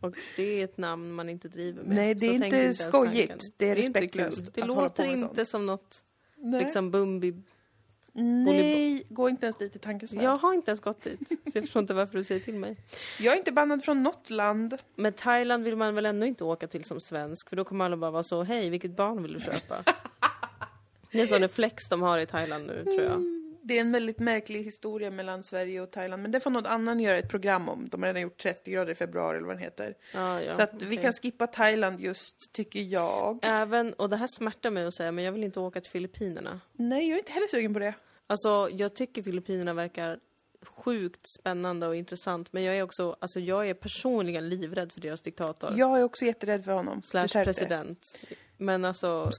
Speaker 1: Och det är ett namn man inte driver med.
Speaker 2: Nej, det är
Speaker 1: Så tänk
Speaker 2: inte
Speaker 1: ens
Speaker 2: skojigt.
Speaker 1: tanken.
Speaker 2: Det är
Speaker 1: inte
Speaker 2: respektlöst
Speaker 1: kul. Det
Speaker 2: att hålla på
Speaker 1: låter
Speaker 2: med
Speaker 1: inte som något
Speaker 2: Nej.
Speaker 1: liksom Bumbi
Speaker 2: Nej, Liksom, gå inte ens dit i tankens värld.
Speaker 1: Jag har inte ens gått dit, så jag förstår inte varför du säger till mig.
Speaker 2: Jag är inte bannad från något land.
Speaker 1: Men Thailand vill man väl ändå inte åka till som svensk, för då kommer alla bara vara så, hej, vilket barn vill du köpa? Det är en sån reflex de har i Thailand nu, tror jag.
Speaker 2: Mm. Det är en väldigt märklig historia mellan Sverige och Thailand, men det får någon annan göra ett program om. De har redan gjort 30 grader i februari eller vad den heter.
Speaker 1: Ja, ja,
Speaker 2: Så att vi
Speaker 1: okej.
Speaker 2: kan skippa Thailand just, tycker jag.
Speaker 1: Även, och det här smärtar mig att säga, men jag vill inte åka till Filippinerna.
Speaker 2: Nej, jag är inte heller sugen på det.
Speaker 1: Alltså, jag tycker Filippinerna verkar sjukt spännande och intressant, men jag är också, alltså jag är personligen livrädd för deras diktator.
Speaker 2: Jag är också jätterädd för honom.
Speaker 1: slash
Speaker 2: Duterte.
Speaker 1: president. Men alltså,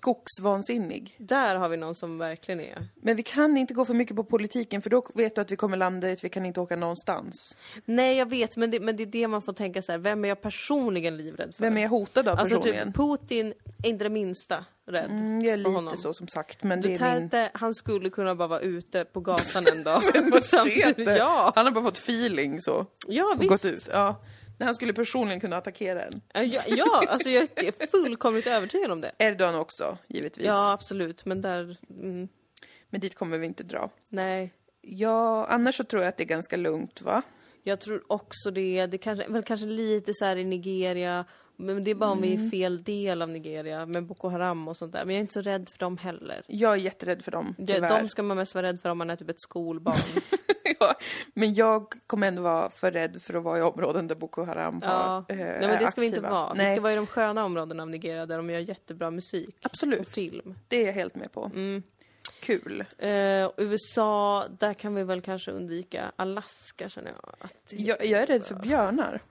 Speaker 2: Skogsvansinnig.
Speaker 1: där har vi någon som verkligen är...
Speaker 2: Men vi kan inte gå för mycket på politiken för då vet du att vi kommer landa i att vi kan inte åka någonstans.
Speaker 1: Nej, jag vet, men det, men det är det man får tänka så här. vem är jag personligen livrädd för?
Speaker 2: Vem är jag hotad av
Speaker 1: Alltså
Speaker 2: personligen?
Speaker 1: typ, Putin är inte det minsta rädd.
Speaker 2: Mm, jag är
Speaker 1: för
Speaker 2: lite
Speaker 1: honom.
Speaker 2: så som sagt, men det är min...
Speaker 1: Duterte, han skulle kunna bara vara ute på gatan en dag.
Speaker 2: Vad
Speaker 1: Samtidigt-
Speaker 2: heter?
Speaker 1: ja,
Speaker 2: Han har bara fått feeling så.
Speaker 1: ja
Speaker 2: Och
Speaker 1: visst.
Speaker 2: gått ut. Ja. När han skulle personligen kunna attackera en.
Speaker 1: Ja, ja, alltså jag är fullkomligt övertygad om det.
Speaker 2: Erdogan också, givetvis.
Speaker 1: Ja, absolut, men där... Mm,
Speaker 2: Men dit kommer vi inte dra.
Speaker 1: nej.
Speaker 2: Ja, annars så tror jag att det är ganska lugnt va?
Speaker 1: Jag tror också det. Det kanske, väl kanske lite så här i Nigeria. Men det är bara om vi är
Speaker 2: Mm.
Speaker 1: i fel del av Nigeria med Boko Haram och sånt där. Men jag är inte så rädd för dem heller.
Speaker 2: Jag är jätterädd för dem,
Speaker 1: Ja,
Speaker 2: tyvärr.
Speaker 1: de ska man mest vara rädd för om man är typ ett skolbarn.
Speaker 2: ja. Men jag kommer ändå vara för rädd för att vara i områden där Boko Haram
Speaker 1: ja.
Speaker 2: har, eh,
Speaker 1: Nej men det ska
Speaker 2: är
Speaker 1: vi inte
Speaker 2: aktiva.
Speaker 1: vara. Vi
Speaker 2: Nej,
Speaker 1: ska vara i de sköna områdena av Nigeria där de gör jättebra musik och
Speaker 2: absolut.
Speaker 1: film. Mm.
Speaker 2: Det är jag helt med på. Kul.
Speaker 1: Eh, USA, där kan vi väl kanske undvika Alaska känner jag. Att,
Speaker 2: Jag, jag är rädd för björnar.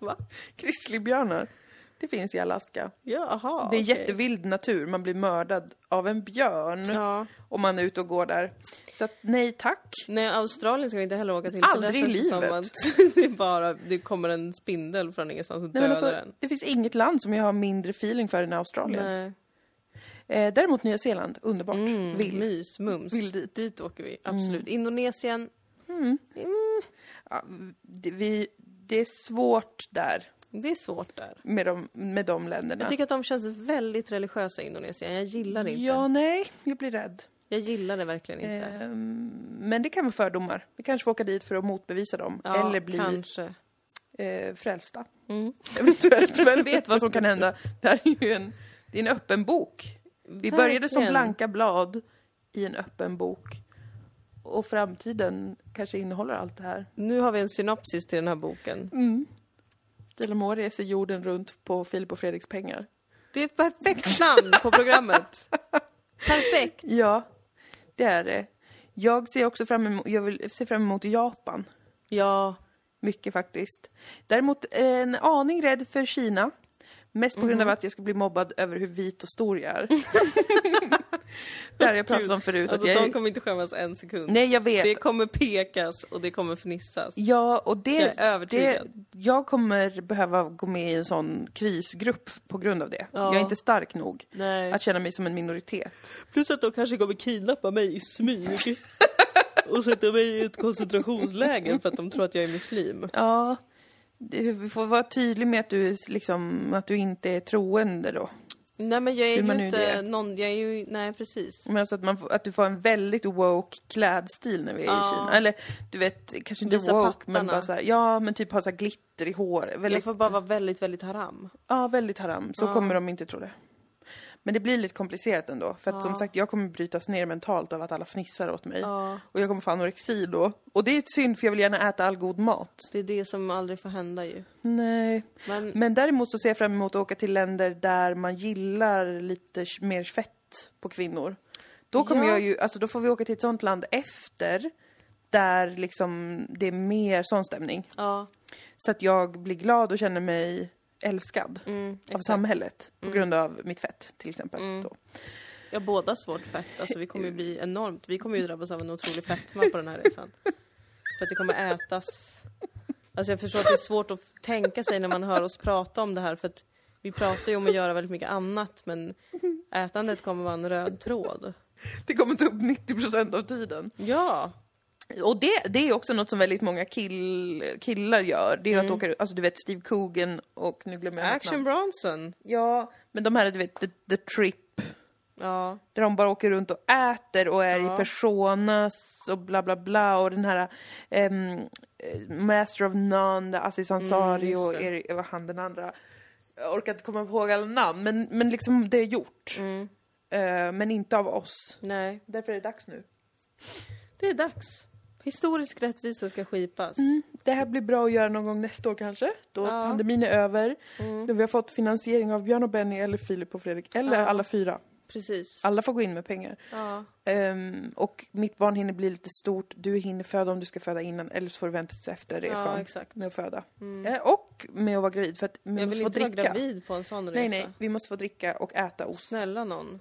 Speaker 1: Va?
Speaker 2: Grizzlybjörnar. Det finns i Alaska.
Speaker 1: Jaha,
Speaker 2: Det
Speaker 1: okej.
Speaker 2: är jättevild natur, man blir mördad av en björn
Speaker 1: Ja.
Speaker 2: om man är ute och går där. Så att nej tack.
Speaker 1: Nej, Australien ska vi inte heller åka till.
Speaker 2: Aldrig i
Speaker 1: för där känns det Som att
Speaker 2: livet.
Speaker 1: det, är bara, det kommer en spindel från ingenstans och
Speaker 2: Nej,
Speaker 1: dödar
Speaker 2: men alltså,
Speaker 1: den.
Speaker 2: det finns inget land som jag har mindre feeling för än Australien.
Speaker 1: Nej. Mm.
Speaker 2: Eh, däremot Nya Zeeland, underbart. Vill.
Speaker 1: Mys, mums.
Speaker 2: Vill dit. Mm.
Speaker 1: åker vi, absolut. Indonesien,
Speaker 2: Ja, det, vi, det är svårt där
Speaker 1: det är svårt där.
Speaker 2: med de, med de länderna.
Speaker 1: Jag tycker att de känns väldigt religiösa i Indonesien. Jag gillar det inte.
Speaker 2: Ja, nej, jag blir rädd.
Speaker 1: Jag gillar det verkligen inte.
Speaker 2: Ehm, men det kan vara fördomar. Vi kanske får åka dit för att motbevisa dem.
Speaker 1: ja,
Speaker 2: eller bli
Speaker 1: Kanske.
Speaker 2: eh, frälsta.
Speaker 1: Mm.
Speaker 2: Eventuellt. Vem vet vad som kan hända? Det här är ju en, det är en öppen bok. Vi började som
Speaker 1: Mm. Verkligen.
Speaker 2: blanka blad i en öppen bok. Och framtiden kanske innehåller allt det här.
Speaker 1: Nu har vi en synopsis till den här boken.
Speaker 2: Delamore reser jorden runt på Filip och Fredriks pengar.
Speaker 1: Det är ett perfekt namn på programmet. Perfekt.
Speaker 2: Ja, det är det. Jag ser också fram emot, jag vill, ser fram emot Japan.
Speaker 1: Ja.
Speaker 2: Mycket faktiskt. Däremot en aning rädd för Kina. Mest på
Speaker 1: Mm.
Speaker 2: grund av att jag ska bli mobbad över hur vit och stor jag är. det här har jag pratat om förut.
Speaker 1: Alltså
Speaker 2: att jag
Speaker 1: de
Speaker 2: är...
Speaker 1: kommer inte skämmas en sekund.
Speaker 2: Nej, jag vet.
Speaker 1: Det kommer pekas och det kommer fnissas.
Speaker 2: Ja, och det...
Speaker 1: Jag är övertygad.
Speaker 2: Det, jag kommer behöva gå med i en sån krisgrupp på grund av det. Jag är inte stark nog
Speaker 1: Nej.
Speaker 2: att känna mig som en minoritet.
Speaker 1: Plus att de kanske kommer kidnappa mig i smyg. och sätta mig i ett koncentrationsläger för att de tror att jag är muslim.
Speaker 2: Ja, du vi får vara tydlig med att du, är liksom, att du inte är troende då.
Speaker 1: Nej men jag är
Speaker 2: Hur man
Speaker 1: ju
Speaker 2: nu det?
Speaker 1: inte någon, jag är ju, nej precis.
Speaker 2: Men alltså att, man, får- att du får en väldigt woke klädstil när vi är i Kina. Eller du vet, kanske inte
Speaker 1: Visa
Speaker 2: woke men
Speaker 1: pattarna.
Speaker 2: bara så här, ja men typ ha så här glitter i håret.
Speaker 1: Jag
Speaker 2: Väldigt,
Speaker 1: får bara vara väldigt, väldigt haram.
Speaker 2: Ja, väldigt haram. Så kommer de inte tro det. Men det blir lite komplicerat ändå. För att som sagt, jag kommer brytas ner mentalt av att alla fnissar åt mig. Och jag kommer få anorexi då. Och det är synd för jag vill gärna äta all god mat.
Speaker 1: Det är det som aldrig får hända ju.
Speaker 2: Nej.
Speaker 1: Men-
Speaker 2: Men däremot så ser jag fram emot att åka till länder där man gillar lite sh- mer fett på kvinnor. Då kommer
Speaker 1: Ja.
Speaker 2: jag ju, alltså då får vi åka till ett sånt land efter där liksom det är mer sån stämning.
Speaker 1: Ja,
Speaker 2: Så att jag blir glad och känner mig älskad
Speaker 1: mm,
Speaker 2: av samhället på grund av mitt fett till exempel. Då.
Speaker 1: ja bådas vårt fett, alltså vi kommer ju bli enormt, vi kommer ju drabbas av en otrolig fetma på den här resan. För att det kommer ätas. Alltså jag förstår att det är svårt att tänka sig när man hör oss prata om det här för att vi pratar ju om att göra väldigt mycket annat men ätandet kommer vara en röd tråd.
Speaker 2: Det kommer ta upp 90% av tiden.
Speaker 1: Ja!
Speaker 2: Och det, det är också något som väldigt många kill, killar gör. Det är att åka, alltså du vet Steve Coogan och nu glömmer jag hans namn.
Speaker 1: Action Bronson.
Speaker 2: Ja, men de här, du vet, the, the trip.
Speaker 1: Ja.
Speaker 2: Där de bara åker runt och äter och är
Speaker 1: Ja.
Speaker 2: i personas och bla bla bla och den här ehm, eh, Master of None, där Aziz Ansari
Speaker 1: just
Speaker 2: och
Speaker 1: det.
Speaker 2: Eri- vad han den andra. Jag orkar inte komma ihåg alla namn men, men liksom det är gjort. Eh, men inte av oss.
Speaker 1: mm, Nej.
Speaker 2: Därför är det dags nu.
Speaker 1: Det är dags. Historisk rättvisa ska skipas.
Speaker 2: Mm. Det här blir bra att göra någon gång nästa år kanske, då
Speaker 1: Ja.
Speaker 2: pandemin är över.
Speaker 1: Mm.
Speaker 2: Då vi har fått finansiering av Björn och Benny eller Filip och Fredrik, eller alla fyra.
Speaker 1: Precis.
Speaker 2: Alla får gå in med pengar.
Speaker 1: Ja.
Speaker 2: Ehm, och mitt barn hinner bli lite stort, du hinner föda om du ska föda innan, eller så får du vänta tills efter resan
Speaker 1: exakt. Mm.
Speaker 2: med att föda. Eh, och med att vara gravid, för att vi
Speaker 1: Jag
Speaker 2: måste
Speaker 1: vill
Speaker 2: få
Speaker 1: inte vara
Speaker 2: dricka.
Speaker 1: gravid på en sån
Speaker 2: nej,
Speaker 1: resa.
Speaker 2: nej, vi måste få dricka och äta ost.
Speaker 1: Snälla någon.
Speaker 2: Men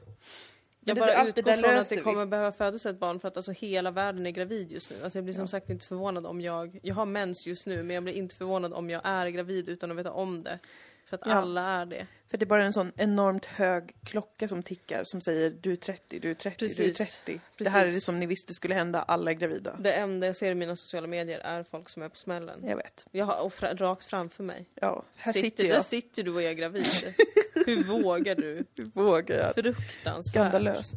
Speaker 1: Jag
Speaker 2: det-
Speaker 1: bara
Speaker 2: allt det
Speaker 1: utgår
Speaker 2: där
Speaker 1: från att
Speaker 2: löser
Speaker 1: det
Speaker 2: vi.
Speaker 1: kommer behöva födas ett barn för att alltså hela världen är gravid just nu. Alltså jag blir som sagt inte förvånad om jag, jag har mens just nu men jag blir inte förvånad om jag är gravid utan att veta om det. För att
Speaker 2: Ja.
Speaker 1: alla är det.
Speaker 2: För det är bara en sån enormt hög klocka som tickar som säger du är 30, du är 30, du är
Speaker 1: Precis.
Speaker 2: 30. Det här är det
Speaker 1: Precis. Mm.
Speaker 2: som ni visste skulle hända, alla är gravida.
Speaker 1: Det enda jag ser i mina sociala medier är folk som är på smällen.
Speaker 2: Jag vet.
Speaker 1: Jag har, och fra, rakt framför mig.
Speaker 2: Ja, här sitter,
Speaker 1: Där
Speaker 2: jag.
Speaker 1: sitter du och jag är gravid. Hur vågar du?
Speaker 2: Vågar jag.
Speaker 1: Fruktansvärt.
Speaker 2: Skandalöst.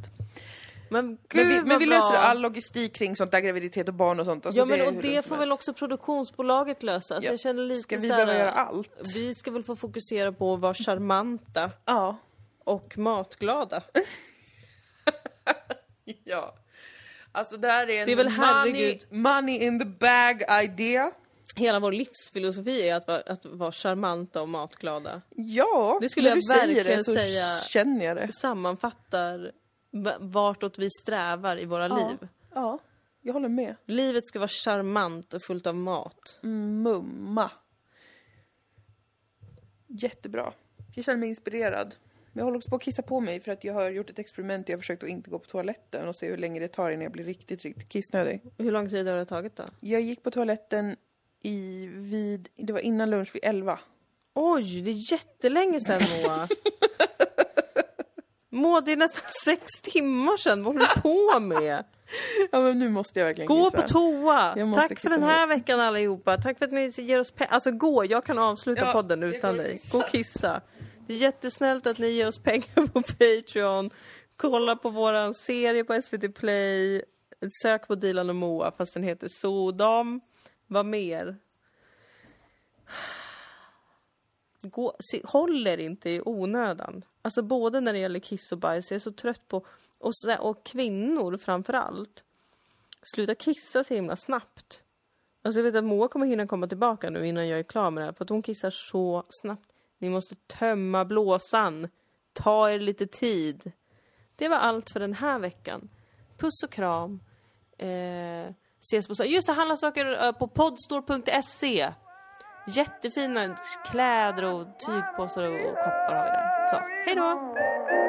Speaker 1: Men gud
Speaker 2: Men vi, men
Speaker 1: vad
Speaker 2: vi
Speaker 1: bra.
Speaker 2: löser all logistik kring sånt där, graviditet och barn och sånt. Alltså,
Speaker 1: Ja men
Speaker 2: är
Speaker 1: och
Speaker 2: hur
Speaker 1: det
Speaker 2: lugnt som
Speaker 1: får väl
Speaker 2: helst.
Speaker 1: också produktionsbolaget lösa. Alltså
Speaker 2: Ja.
Speaker 1: jag känner lite
Speaker 2: Ska vi
Speaker 1: så här-
Speaker 2: behöva göra allt?
Speaker 1: Vi ska väl få fokusera på att vara charmanta
Speaker 2: Ja.
Speaker 1: och matglada.
Speaker 2: ja. Alltså det här är en
Speaker 1: Det är väl
Speaker 2: money,
Speaker 1: herregud.
Speaker 2: money in the bag idea.
Speaker 1: Hela vår livsfilosofi är att vara, att vara charmanta och matglada.
Speaker 2: Ja,
Speaker 1: Det skulle
Speaker 2: när
Speaker 1: jag
Speaker 2: du säger
Speaker 1: verkligen
Speaker 2: det, så
Speaker 1: säga.
Speaker 2: känner jag det.
Speaker 1: Sammanfattar v- vartåt vi strävar i våra liv.
Speaker 2: Ja, jag håller med.
Speaker 1: Livet ska vara charmant och fullt av mat.
Speaker 2: Mumma. Jättebra. Jag känner mig inspirerad. Men jag håller också på att kissa på mig för att jag har gjort ett experiment där jag har försökt att inte gå på toaletten och se hur länge det tar innan jag blir riktigt, riktigt kissnödig.
Speaker 1: Hur lång tid har det tagit då?
Speaker 2: Jag gick på toaletten i vid, det var innan lunch vid 11.
Speaker 1: Oj, det är jättelänge sedan Moa. Moa, det är nästan sex timmar sedan. Vad håller du på med?
Speaker 2: Ja men nu måste jag verkligen
Speaker 1: Gå
Speaker 2: kissa.
Speaker 1: på toa!
Speaker 2: Jag måste
Speaker 1: Tack för
Speaker 2: kissa
Speaker 1: den här veckan allihopa. Tack för att ni ger oss pengar. Alltså gå, jag kan avsluta
Speaker 2: Ja,
Speaker 1: podden
Speaker 2: jag
Speaker 1: utan
Speaker 2: går och
Speaker 1: dig. Gå
Speaker 2: kissar.
Speaker 1: och kissa. Det är jättesnällt att ni ger oss pengar på Patreon. Kolla på våran serie på SVT Play. Sök på Dilan och Moa fast den heter Sodom. Vad mer? Gå, se, håll er inte i onödan. Alltså både när det gäller kiss och bajs. Jag är så trött på, och, så, och kvinnor framför allt sluta kissa så himla snabbt. Alltså jag vet att Moa kommer hinna komma tillbaka nu innan jag är klar med det här för att hon kissar så snabbt. Ni måste tömma blåsan. Ta er lite tid. Det var allt för den här veckan. Puss och kram. Eh, ses på... Just det, handla saker eh, på podstore.se. Jättefina kläder och tygpåsar och och koppar har vi där. Så, hej då!